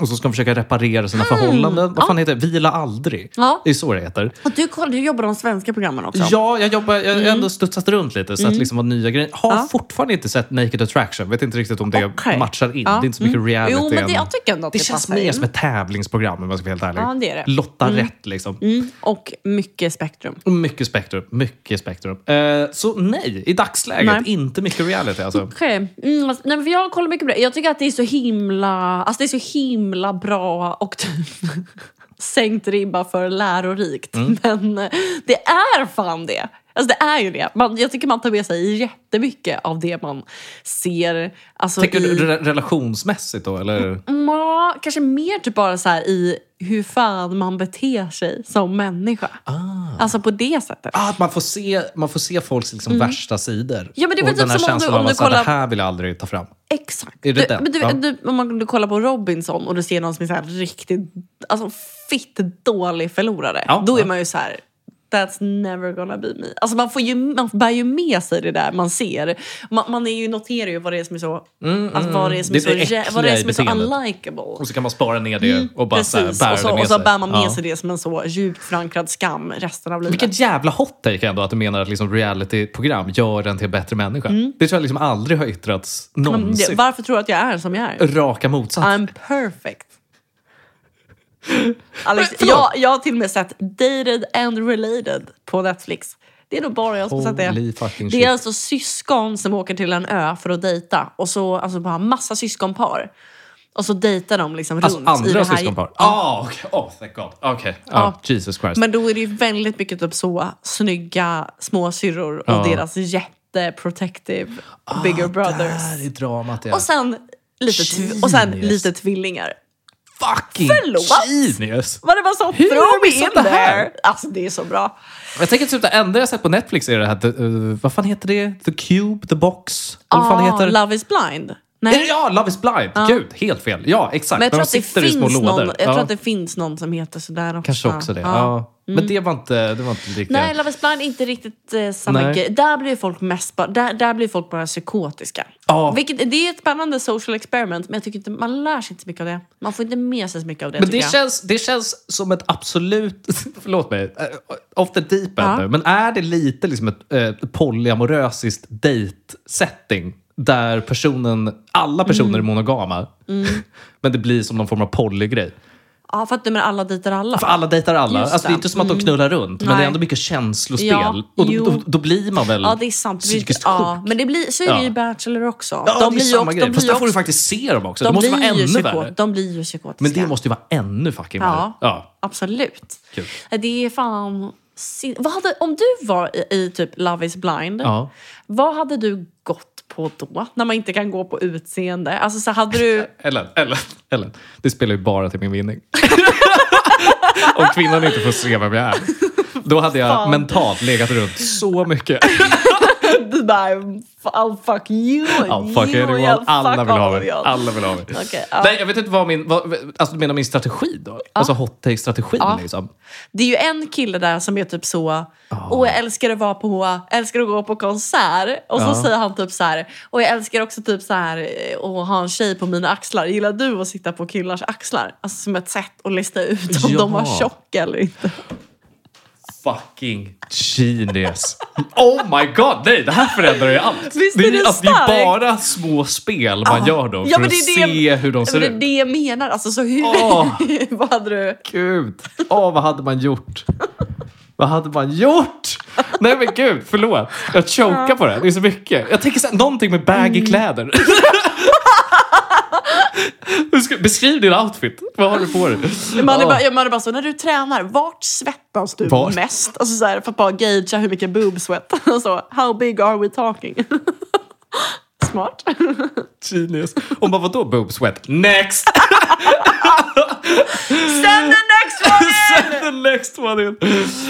Speaker 1: Och så ska de försöka reparera sina förhållanden. Vad fan heter det? Vila aldrig.
Speaker 2: Mm. Ja.
Speaker 1: Det är så det heter.
Speaker 2: Och du, koll- du jobbar de svenska programmen också?
Speaker 1: Ja, jag jobbar, jag har ändå studsat runt lite så att liksom vad nya grejer. Har
Speaker 2: Mm. Ja.
Speaker 1: fortfarande inte sett Naked Attraction. Vet inte riktigt om det
Speaker 2: Okej.
Speaker 1: matchar in.
Speaker 2: Ja. Mm.
Speaker 1: Det är inte så mycket reality.
Speaker 2: Jo, men det,
Speaker 1: än.
Speaker 2: jag tycker ändå att det,
Speaker 1: det känns
Speaker 2: passar
Speaker 1: mer
Speaker 2: in.
Speaker 1: som ett tävlingsprogram om jag ska vara helt ärlig.
Speaker 2: Ja, det är det.
Speaker 1: Lotta rätt liksom.
Speaker 2: Mm, och mycket spektrum.
Speaker 1: Och Mycket spektrum, mycket spektrum. Eh, så nej, i dagsläget
Speaker 2: Nej.
Speaker 1: inte mycket reality alltså.
Speaker 2: Okej. Mm, alltså, nej, men för jag kollar mycket på det. Jag tycker att det är så himla, alltså det är så himla bra och typ sänkt ribba för lärorikt.
Speaker 1: Mm.
Speaker 2: Men eh, det är fan det. Alltså det är ju det. Man, jag tycker man tar med sig jättemycket av det man ser. Alltså
Speaker 1: Tänker
Speaker 2: i,
Speaker 1: du re- relationsmässigt då?
Speaker 2: Mm.
Speaker 1: Eller?
Speaker 2: Ja, kanske mer typ bara så här i hur fan man beter sig som människa. Alltså på det sättet.
Speaker 1: Ah, att man får se, man får se folks liksom värsta sidor.
Speaker 2: Mm. Ja, men det är
Speaker 1: och
Speaker 2: väl typ
Speaker 1: den här
Speaker 2: som om du-
Speaker 1: känslan
Speaker 2: om
Speaker 1: av
Speaker 2: du
Speaker 1: att så här,
Speaker 2: kollar-
Speaker 1: det här vill jag aldrig ta fram.
Speaker 2: Exakt.
Speaker 1: Är det
Speaker 2: du,
Speaker 1: den?
Speaker 2: Men du,
Speaker 1: Ja.
Speaker 2: du, om man du kollar på Robinson och du ser någon som är så här riktigt alltså, fitt dålig förlorare.
Speaker 1: Ja,
Speaker 2: då
Speaker 1: ja.
Speaker 2: är man ju så här... That's never gonna be me. Alltså man, får ju, man bär ju med sig det där man ser. Man, man är ju, noterar ju vad det är som är så... alltså, vad det är som
Speaker 1: Mm, Det
Speaker 2: är,
Speaker 1: är
Speaker 2: så,
Speaker 1: det
Speaker 2: jä- vad det är
Speaker 1: äckliga i
Speaker 2: som är så
Speaker 1: beteendet.
Speaker 2: unlikable.
Speaker 1: Och så kan man spara ner det och bara så här,
Speaker 2: Mm. Precis,
Speaker 1: bära
Speaker 2: och
Speaker 1: det
Speaker 2: så,
Speaker 1: med
Speaker 2: och så
Speaker 1: sig.
Speaker 2: bär man med
Speaker 1: Ja.
Speaker 2: sig det som en så djupt förankrad skam resten av livet.
Speaker 1: Vilket jävla hot take ändå att du menar att liksom realityprogram gör en till en bättre människa. Det tror jag liksom aldrig har yttrats
Speaker 2: Mm. Men det, Ah,
Speaker 1: någonsin.
Speaker 2: varför tror du att jag är som jag är?
Speaker 1: Raka motsatsen.
Speaker 2: I'm perfect. Alex,
Speaker 1: Men, förlåt.
Speaker 2: jag, jag har till och med sett Dated and related på Netflix. Det är nog bara jag som sett
Speaker 1: Holy
Speaker 2: det.
Speaker 1: fucking
Speaker 2: Det
Speaker 1: shit.
Speaker 2: är alltså syskon som åker till en ö för att dejta. Och så alltså bara massa syskonpar. Och så dejtar de liksom
Speaker 1: Alltså
Speaker 2: runt i det
Speaker 1: andra
Speaker 2: här Ah.
Speaker 1: syskonpar? Ah, okej. Oh, thank God. Okej. Ja, Jesus Christ.
Speaker 2: Men då är det ju väldigt mycket typ så snygga småsyrror och
Speaker 1: Ja. Ah,
Speaker 2: deras jätteprotective bigger brothers.
Speaker 1: Där är dramat igen.
Speaker 2: Och sen, lite tv- och sen
Speaker 1: Genius.
Speaker 2: lite tvillingar.
Speaker 1: Fucking
Speaker 2: Förlåt!
Speaker 1: genius!
Speaker 2: Var det bara så?
Speaker 1: Hur har
Speaker 2: Throw
Speaker 1: du
Speaker 2: me
Speaker 1: missat
Speaker 2: in
Speaker 1: det här?
Speaker 2: there! Alltså det är så bra.
Speaker 1: Jag tänker typ det enda jag sett på Netflix är det här, the, eh, vad fan heter det? The Cube, The Box? Eller vad fan det
Speaker 2: Ah,
Speaker 1: heter?
Speaker 2: Love is blind. Nej.
Speaker 1: Eller Ja, Love is blind! Gud, helt fel. Ja, exakt.
Speaker 2: Men
Speaker 1: När
Speaker 2: jag tror,
Speaker 1: de
Speaker 2: att det,
Speaker 1: sitter i
Speaker 2: finns
Speaker 1: små lådor.
Speaker 2: någon, jag
Speaker 1: ja.
Speaker 2: tror att det finns någon som heter sådär också.
Speaker 1: Kanske också det. Ja. Men det var inte, det var inte riktigt...
Speaker 2: Nej, Love is blind är inte riktigt eh, samma
Speaker 1: Nej.
Speaker 2: grej. Där blir ju folk mest bara, där, där blir folk bara psykotiska.
Speaker 1: Ja.
Speaker 2: Vilket, det är ett spännande social experiment, men jag tycker inte, man lär sig inte så mycket av det. Man får inte med sig så mycket av det,
Speaker 1: Men
Speaker 2: tycker
Speaker 1: det
Speaker 2: jag.
Speaker 1: känns, det känns som ett absolut... Förlåt mig. eh, Off the deep end
Speaker 2: Ja.
Speaker 1: nu. Men är det lite liksom ett eh, polyamorösiskt date-setting där personen, alla personer
Speaker 2: Mm.
Speaker 1: är monogama, men det blir som någon form av polygrej?
Speaker 2: Ja, för att du menar alla dejtar alla.
Speaker 1: För alla dejtar alla.
Speaker 2: Just
Speaker 1: Alltså, det är
Speaker 2: det. Mm.
Speaker 1: inte som att de knullar runt, men
Speaker 2: Nej.
Speaker 1: det är ändå mycket känslospel.
Speaker 2: Ja,
Speaker 1: och då,
Speaker 2: jo.
Speaker 1: då, då blir man väl
Speaker 2: Ja, det är sant. Det blir-
Speaker 1: psykiskt
Speaker 2: ja,
Speaker 1: sjuk?
Speaker 2: men det blir, så är det ju
Speaker 1: Ja.
Speaker 2: i Bachelor också.
Speaker 1: Ja, det är
Speaker 2: blir ju
Speaker 1: samma
Speaker 2: också-
Speaker 1: grej.
Speaker 2: blir
Speaker 1: Fast
Speaker 2: ju
Speaker 1: där får du
Speaker 2: också-
Speaker 1: faktiskt se dem också.
Speaker 2: de
Speaker 1: det måste vara
Speaker 2: blir ju
Speaker 1: ännu
Speaker 2: psyko-
Speaker 1: värre.
Speaker 2: De blir ju psykotiska.
Speaker 1: Men det måste ju vara ännu fucking värre.
Speaker 2: Ja.
Speaker 1: Ja.
Speaker 2: Absolut.
Speaker 1: Kul.
Speaker 2: Det är fan... sin- Vad hade, om du var i, i typ Love is blind,
Speaker 1: Ja.
Speaker 2: vad hade du gått på då? När man inte kan gå på utseende. Alltså så hade du...
Speaker 1: Ellen, Ellen, Ellen. Det spelar ju bara till min vinning. Om kvinnan inte får se vem jag är. Då hade jag
Speaker 2: Fan.
Speaker 1: mentalt legat runt så mycket.
Speaker 2: du bara, I'll oh, fuck you and
Speaker 1: I'll fuck
Speaker 2: you and
Speaker 1: anyone.
Speaker 2: I'll
Speaker 1: Alla
Speaker 2: fuck
Speaker 1: vill ha
Speaker 2: all of
Speaker 1: mig.
Speaker 2: you.
Speaker 1: Alla vill ha mig.
Speaker 2: Okej, ja.
Speaker 1: Nej, jag vet inte vad min... Vad, alltså du menar min strategi då? Alltså hot take-strategin
Speaker 2: Ja.
Speaker 1: liksom.
Speaker 2: Det är ju en kille där som är typ så... Åh, jag älskar att, vara på, älskar att gå på konsert. Och så
Speaker 1: Ja.
Speaker 2: säger han typ så här... Och jag älskar också typ så här eh, att ha en tjej på mina axlar. Gillar du att sitta på killars axlar? Alltså som ett sätt att lista ut om
Speaker 1: Ja.
Speaker 2: de var tjocka eller inte.
Speaker 1: Fucking genius. Oh my god, nej det här förändrar ju allt.
Speaker 2: Visst är
Speaker 1: ju-
Speaker 2: det
Speaker 1: alltså, det är ju
Speaker 2: starkt?
Speaker 1: bara små spel man gör då för
Speaker 2: men
Speaker 1: att
Speaker 2: det är det-
Speaker 1: se hur de ser
Speaker 2: Men det
Speaker 1: ut.
Speaker 2: är det jag menar. Alltså så hur...
Speaker 1: Åh.
Speaker 2: vad hade du...
Speaker 1: Gud! Åh, vad hade man gjort? Vad hade man gjort? Nej men gud, förlåt. Jag chokar på det. Det är så mycket. Jag tänker såhär, någonting med
Speaker 2: Mm.
Speaker 1: baggy kläder. Hur ska- Beskriv din outfit. Vad har du på dig?
Speaker 2: Man är,
Speaker 1: Åh.
Speaker 2: bara, ja, man är bara så, när du tränar, vart svettas du
Speaker 1: Vart?
Speaker 2: mest? Alltså så här, för att bara gagea hur mycket boob sweat. Alltså, how big are we talking? Smart.
Speaker 1: Genius. Och man, vadå boob sweat? Next!
Speaker 2: Send the next one!
Speaker 1: Send the next one in.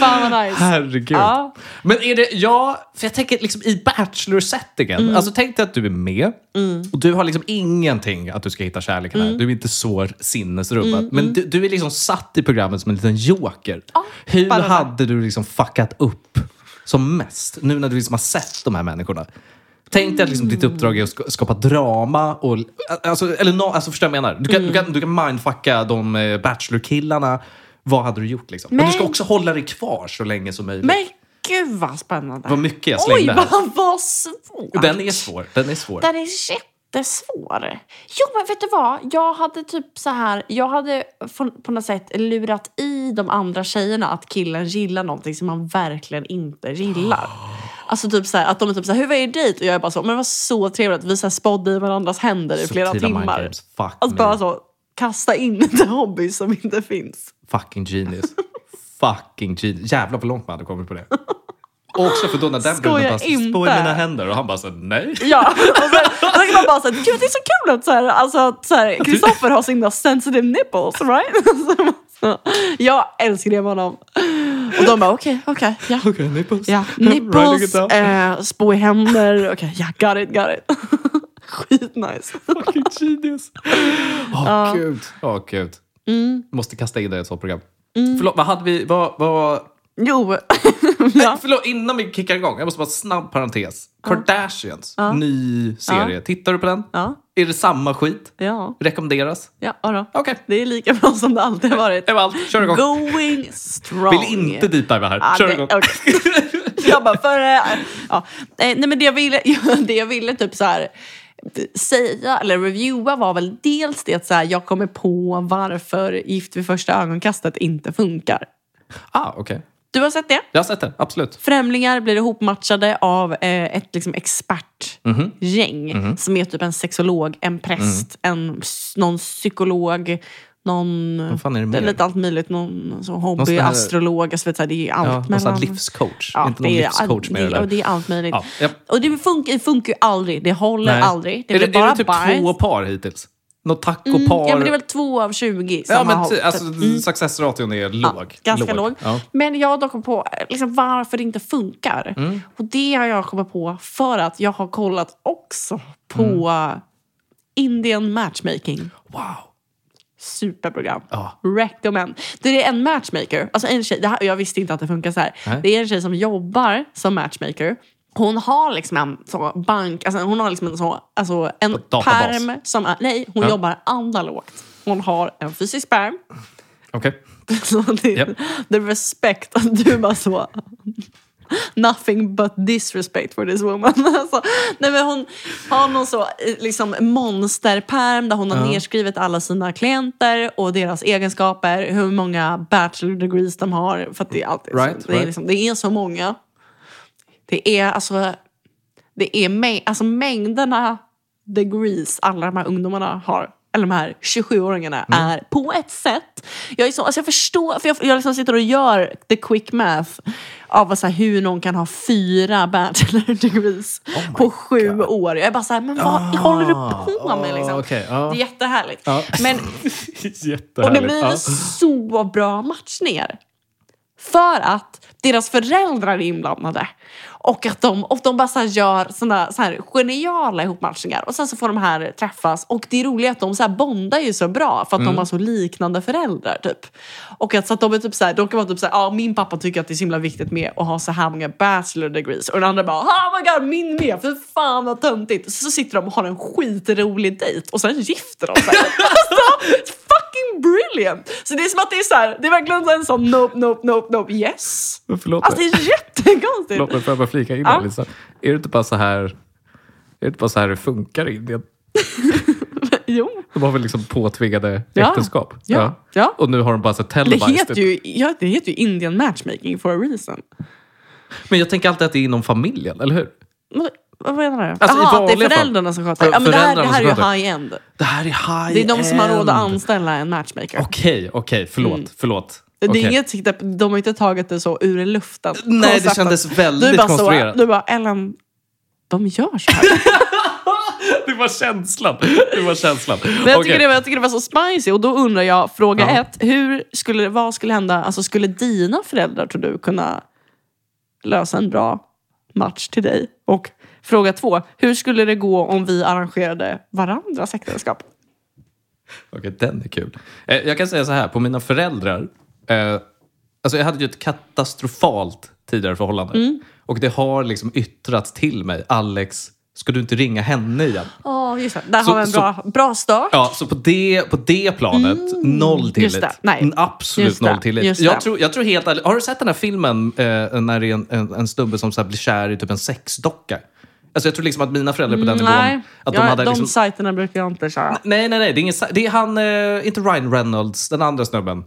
Speaker 2: Fan vad nice.
Speaker 1: Herregud.
Speaker 2: Ja.
Speaker 1: Men är det, ja, för jag tänker liksom i bachelor-settingen.
Speaker 2: Mm.
Speaker 1: Alltså tänk dig att du är med och du har liksom ingenting att du ska hitta kärleken
Speaker 2: Mm.
Speaker 1: här. Du är inte så sinnesrubbad. Men du, du är liksom satt i programmet som en liten joker. Hur
Speaker 2: bara där.
Speaker 1: hade du liksom fuckat upp som mest? Nu när du liksom har sett de här människorna. Tänk dig att liksom
Speaker 2: Mm.
Speaker 1: ditt uppdrag är att sk- skapa drama. Och, alltså, eller no, alltså förstår jag vad jag menar? Du kan,
Speaker 2: Mm.
Speaker 1: du kan, du kan mindfucka de eh, bachelor-killarna. Vad hade du gjort? Liksom? Men, du ska
Speaker 2: Men-
Speaker 1: också hålla dig kvar så länge som möjligt.
Speaker 2: Men gud vad spännande.
Speaker 1: Vad mycket jag
Speaker 2: Oj,
Speaker 1: slängde här.
Speaker 2: vad, vad svårt.
Speaker 1: Den är svår. Den är svår.
Speaker 2: Den är jättesvår. Jo, men vet du vad? Jag hade typ så här, jag hade få- på något sätt lurat i de andra tjejerna att killen gillar någonting som han verkligen inte gillar. Alltså typ så här, att de är typ så här, hur var er dejt? Och jag är bara så, men det var så trevligt. Vi så här spådde i varandras händer i flera
Speaker 1: Subtila mind
Speaker 2: timmar.
Speaker 1: games. Mm. Fuck
Speaker 2: Alltså
Speaker 1: me.
Speaker 2: bara så, kasta in en hobby som inte finns.
Speaker 1: Fucking genius. Fucking genius. Jävlar vad långt man hade kommit på det. Och också för då när den bruden
Speaker 2: Skoja
Speaker 1: bara
Speaker 2: inte.
Speaker 1: “spå i mina händer” och han bara så, “nej”.
Speaker 2: Ja, och sen, och sen kan man bara säga, gud det är så kul att så här, alltså, att så här, Christopher har sina sensitive nipples, right? Så- jag älskar det med honom. Och de bara, okej, okej, ja.
Speaker 1: Okej, nipples.
Speaker 2: Ja,
Speaker 1: Riding it
Speaker 2: nipples,
Speaker 1: down.
Speaker 2: eh, spå i händer, okej, ja, got it, got it. Skitnice.
Speaker 1: Fucking genius. Åh gud. Åh gud.
Speaker 2: Mm.
Speaker 1: Måste kasta in det i ett sånt program. Förlåt, vad hade vi... Vad, vad...
Speaker 2: Jo,
Speaker 1: Nej, förlåt, innan vi kickar igång. Jag måste bara snabb parentes. Kardashians, ny serie. Tittar du på den?
Speaker 2: ja,
Speaker 1: Är det samma skit?
Speaker 2: ja,
Speaker 1: Rekommenderas?
Speaker 2: ja, ja då.
Speaker 1: Okej.
Speaker 2: Det är lika bra som det alltid har varit.
Speaker 1: Det var allt. Kör igång.
Speaker 2: Going strong.
Speaker 1: Vill inte deepdiva här.
Speaker 2: Ja,
Speaker 1: Kör
Speaker 2: det-
Speaker 1: igång.
Speaker 2: okej. jag bara, för... eh, Ja. Eh, Nej, men det jag ville, det jag ville typ så här säga eller reviewa var väl dels det att så här, jag kommer på varför Gift vid första ögonkastet inte funkar.
Speaker 1: Ah, okej.
Speaker 2: Du har sett det?
Speaker 1: Jag har sett den, absolut.
Speaker 2: Främlingar blir ihopmatchade av eh, ett liksom,
Speaker 1: Mhm.
Speaker 2: expertgäng som är typ en sexolog, en präst, en, s- någon psykolog, någon...
Speaker 1: Vad fan är det
Speaker 2: Det är
Speaker 1: mer?
Speaker 2: lite allt möjligt. Någon så hobby,
Speaker 1: sån här-
Speaker 2: astrolog, alltså, vet, du, det är allt
Speaker 1: ja, någon sån här livscoach.
Speaker 2: Ja,
Speaker 1: inte någon
Speaker 2: det är-
Speaker 1: livscoach med det,
Speaker 2: det,
Speaker 1: där.
Speaker 2: och det är allt möjligt.
Speaker 1: Ja, japp.
Speaker 2: Och det funkar, det funkar ju aldrig. Det håller
Speaker 1: Nej.
Speaker 2: aldrig. Det
Speaker 1: är,
Speaker 2: blir
Speaker 1: det,
Speaker 2: bara
Speaker 1: är det typ
Speaker 2: bajs. Mm,
Speaker 1: två par hittills? Något tacopar?
Speaker 2: Ja, men det är väl två av 20 som
Speaker 1: Ja, men
Speaker 2: har
Speaker 1: ty-
Speaker 2: hållit.
Speaker 1: alltså, successration är låg.
Speaker 2: typ. Mm. Ganska låg.
Speaker 1: Ja.
Speaker 2: Men jag har dock kommit på eh, liksom, varför det inte funkar.
Speaker 1: Mm. Mm.
Speaker 2: Och det har jag kommit på för att jag har kollat också på Indian matchmaking.
Speaker 1: Wow.
Speaker 2: Superprogram.
Speaker 1: Ja.
Speaker 2: Recommend. Det är en matchmaker. Alltså en tjej, det här, jag visste inte att det funkar så här.
Speaker 1: Nej.
Speaker 2: Det är en tjej som jobbar som matchmaker. Hon har liksom en så bank, alltså hon har liksom en, så, alltså en
Speaker 1: Databas.
Speaker 2: perm som är, nej hon
Speaker 1: Ja.
Speaker 2: jobbar analogt. Hon har en fysisk perm.
Speaker 1: Okej.
Speaker 2: Så det,
Speaker 1: Japp.
Speaker 2: det är respekt att du bara så... Nothing but disrespect for this woman. Alltså, nej men hon har någon så eh, liksom, monsterperm där hon har
Speaker 1: Ja.
Speaker 2: nerskrivet alla sina klienter och deras egenskaper, hur många bachelor degrees de har. För att det, är alltid,
Speaker 1: Right,
Speaker 2: så, det, är
Speaker 1: right.
Speaker 2: liksom, det är så många. Det är alltså, det är mäng- alltså mängderna degrees alla de här ungdomarna har, eller de här 27-åringarna,
Speaker 1: Mm.
Speaker 2: är på ett sätt. Jag, är så, alltså jag förstår, för jag, jag liksom sitter och gör the quick math av så här, hur någon kan ha fyra bachelor degrees
Speaker 1: Oh my
Speaker 2: på sju
Speaker 1: God.
Speaker 2: år. Jag är bara så här, men vad håller du på med?
Speaker 1: ah,
Speaker 2: Liksom?
Speaker 1: okej, ja.
Speaker 2: Det är jättehärligt.
Speaker 1: Ja.
Speaker 2: Men och det
Speaker 1: Jättehärligt.
Speaker 2: blir
Speaker 1: Ja.
Speaker 2: en så bra matchningar. För att deras föräldrar är inblandade. Och att de, och de bara så här gör såna så här geniala ihopmatchningar. Och sen så får de här träffas. Och det är roligt att de så här bondar ju så bra för att
Speaker 1: Mm.
Speaker 2: de har så liknande föräldrar. typ. Och att, så att de är typ så här, de kan vara typ så här, ja min pappa tycker att det är så himla viktigt med att ha så här många bachelor degrees. Och den andra bara, oh my god min med, för fan vad töntigt. Så sitter de och har en skitrolig dejt och sen gifter de sig. alltså, fucking brilliant! Så det är som att det är så här, det är verkligen en sån nope, nope, nope, nope, yes.
Speaker 1: Förlåt
Speaker 2: Alltså det
Speaker 1: mig.
Speaker 2: är jättekonstigt.
Speaker 1: Förlåt mig, får jag bara flika in
Speaker 2: Ja.
Speaker 1: där, Lisa? Är det inte bara så här... Är det inte bara så här det funkar i Indien?
Speaker 2: Jo.
Speaker 1: De har väl liksom påtvingade
Speaker 2: Ja.
Speaker 1: äktenskap?
Speaker 2: Ja. Ja.
Speaker 1: Och nu har de bara så här
Speaker 2: Det
Speaker 1: televised. typ.
Speaker 2: heter, ju, ja, det heter ju Indian matchmaking for a reason.
Speaker 1: Men jag tänker alltid att det är inom familjen, eller hur?
Speaker 2: Men, vad menar du?
Speaker 1: Alltså, i
Speaker 2: Jaha, det är
Speaker 1: vanliga fall.
Speaker 2: föräldrarna som sköter det. Ja, men det här, det
Speaker 1: Föräldrarna
Speaker 2: här är
Speaker 1: som
Speaker 2: ju
Speaker 1: sköter.
Speaker 2: high-end.
Speaker 1: Det här är high
Speaker 2: Det är de som har råd
Speaker 1: end.
Speaker 2: att anställa en matchmaker.
Speaker 1: Okej, okej, förlåt, förlåt.
Speaker 2: Mm. Det
Speaker 1: Okej.
Speaker 2: är inget, sikte- de har inte tagit det så ur luften.
Speaker 1: Nej,
Speaker 2: Konceptet.
Speaker 1: det kändes
Speaker 2: du
Speaker 1: väldigt
Speaker 2: bara
Speaker 1: konstruerat.
Speaker 2: Så, du bara, Ellen, de gör så här.
Speaker 1: Det var känslan. Det var känslan.
Speaker 2: Men jag,
Speaker 1: Okej.
Speaker 2: tycker det var, jag tycker det var så spicy och då undrar jag, fråga
Speaker 1: Ja.
Speaker 2: ett, hur skulle, det- vad skulle hända, alltså skulle dina föräldrar tror du kunna lösa en bra match till dig? Och fråga två, hur skulle det gå om vi arrangerade varandras äktenskap?
Speaker 1: Okej, den är kul. Eh, Jag kan säga så här, på mina föräldrar. Eh, alltså jag hade ju ett katastrofalt tidigare förhållande.
Speaker 2: Mm.
Speaker 1: Och det har liksom yttrats till mig, Alex, ska du inte ringa henne igen?
Speaker 2: Ja, just det. Där
Speaker 1: Så-
Speaker 2: har vi en
Speaker 1: så-
Speaker 2: bra, bra start.
Speaker 1: Ja, så på det, på det planet, noll tillit.
Speaker 2: Mm, Just det, nej.
Speaker 1: Mm, Absolut
Speaker 2: Just det,
Speaker 1: noll tillit.
Speaker 2: just det.
Speaker 1: Jag tror, jag tror helt ärligt, har du sett den här filmen eh, när det är en, en, en snubbe som så här blir kär i typ en sexdocka? Alltså jag tror liksom att mina föräldrar på den nivån...
Speaker 2: Mm, Nej,
Speaker 1: Att
Speaker 2: jag,
Speaker 1: de hade
Speaker 2: de
Speaker 1: liksom,
Speaker 2: sajterna brukar jag inte köra.
Speaker 1: nej, nej, nej. Det är, ingen, sa- det är han, eh, inte Ryan Reynolds, den andra snubben.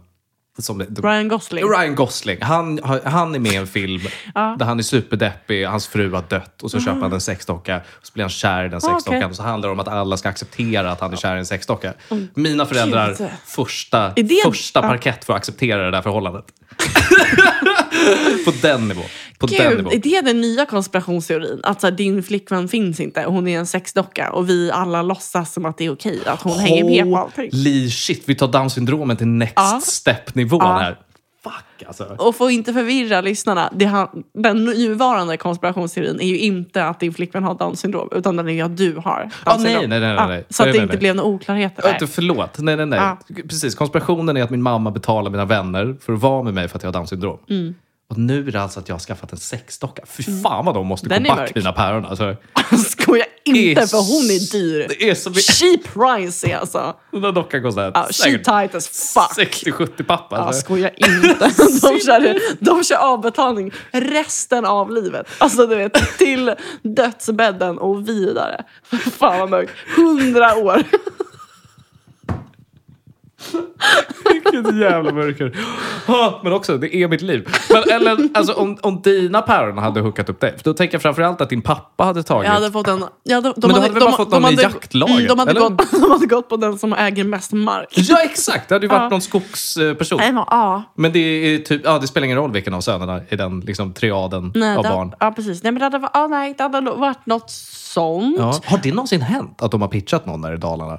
Speaker 1: Som det,
Speaker 2: Ryan Gosling.
Speaker 1: Ryan Gosling, han, han är med i en film där han är superdeppig, hans fru har dött och så köper han en sexdocka och så blir han kär i den sexdockan.
Speaker 2: Mm. Ah, okej.
Speaker 1: Och så handlar det om att alla ska acceptera att han är kär i en sexdocka. Mina föräldrar,
Speaker 2: Oh, Gud.
Speaker 1: första,
Speaker 2: Är det-
Speaker 1: första parkett för att acceptera det där förhållandet. på den nivå. På den
Speaker 2: Gud,
Speaker 1: nivå.
Speaker 2: är det den nya konspirationsteorin? Att så här, din flickvän finns inte, hon är en sexdocka och vi alla låtsas som att det är okej att hon hänger med på allting.
Speaker 1: Holy shit, vi tar down syndromet till next
Speaker 2: Ja.
Speaker 1: step-nivån
Speaker 2: Ja.
Speaker 1: här. Fuck alltså.
Speaker 2: Och för att inte förvirra lyssnarna, det han, den nuvarande konspirationsteorin är ju inte att din flickvän har Downs syndrom, utan den är att du har Downs
Speaker 1: Ah, nej,
Speaker 2: syndrom.
Speaker 1: nej, nej, nej,
Speaker 2: Ja,
Speaker 1: nej.
Speaker 2: Så att
Speaker 1: Nej,
Speaker 2: det
Speaker 1: nej,
Speaker 2: inte
Speaker 1: nej.
Speaker 2: blev några oklarheter.
Speaker 1: Nej.
Speaker 2: där.
Speaker 1: Inte, Äh, förlåt. Nej, nej, nej.
Speaker 2: Ja.
Speaker 1: Precis. Konspirationen är att min mamma betalar mina vänner för att vara med mig för att jag har Downs syndrom.
Speaker 2: Mm.
Speaker 1: Och nu är det alltså att jag har skaffat en sexdocka. Fy fan vad de måste
Speaker 2: Den
Speaker 1: gå
Speaker 2: är
Speaker 1: back,
Speaker 2: mörk.
Speaker 1: mina päron. Alltså,
Speaker 2: Skoja inte,
Speaker 1: är
Speaker 2: för hon
Speaker 1: s-
Speaker 2: är dyr.
Speaker 1: Det är så mycket.
Speaker 2: She pricey alltså.
Speaker 1: Den där dockan kostar
Speaker 2: Ja, she
Speaker 1: säkert
Speaker 2: tight as fuck.
Speaker 1: 60-70 pappa.
Speaker 2: Ja,
Speaker 1: Alltså.
Speaker 2: skoja inte. De kör, de kör avbetalning resten av livet. Alltså du vet, till dödsbädden och vidare. Fan vad mörkt. Hundra år.
Speaker 1: Vilket jävla mörker. Ah, Men också, det är mitt liv. Men Ellen, alltså, om, om dina päron hade hookat upp dig, för då tänker jag framförallt att din pappa hade tagit...
Speaker 2: Jag hade fått en... Ja, de, de
Speaker 1: Men du hade väl bara fått någon i jaktlaget,
Speaker 2: mm, De hade,
Speaker 1: eller?
Speaker 2: gått, de hade gått på den som äger mest mark.
Speaker 1: Ja, exakt! Det hade ju varit
Speaker 2: Ja.
Speaker 1: någon skogsperson.
Speaker 2: Nej, men, ja.
Speaker 1: Men det, är typ, ja, det spelar ingen roll vilken av sönerna i den liksom, triaden
Speaker 2: Nej,
Speaker 1: av
Speaker 2: det,
Speaker 1: barn.
Speaker 2: Ja, precis. Nej, men det hade, va- ja, nej, det hade nog varit något sånt.
Speaker 1: Ja. Har det någonsin hänt att de har pitchat någon där i Dalarna?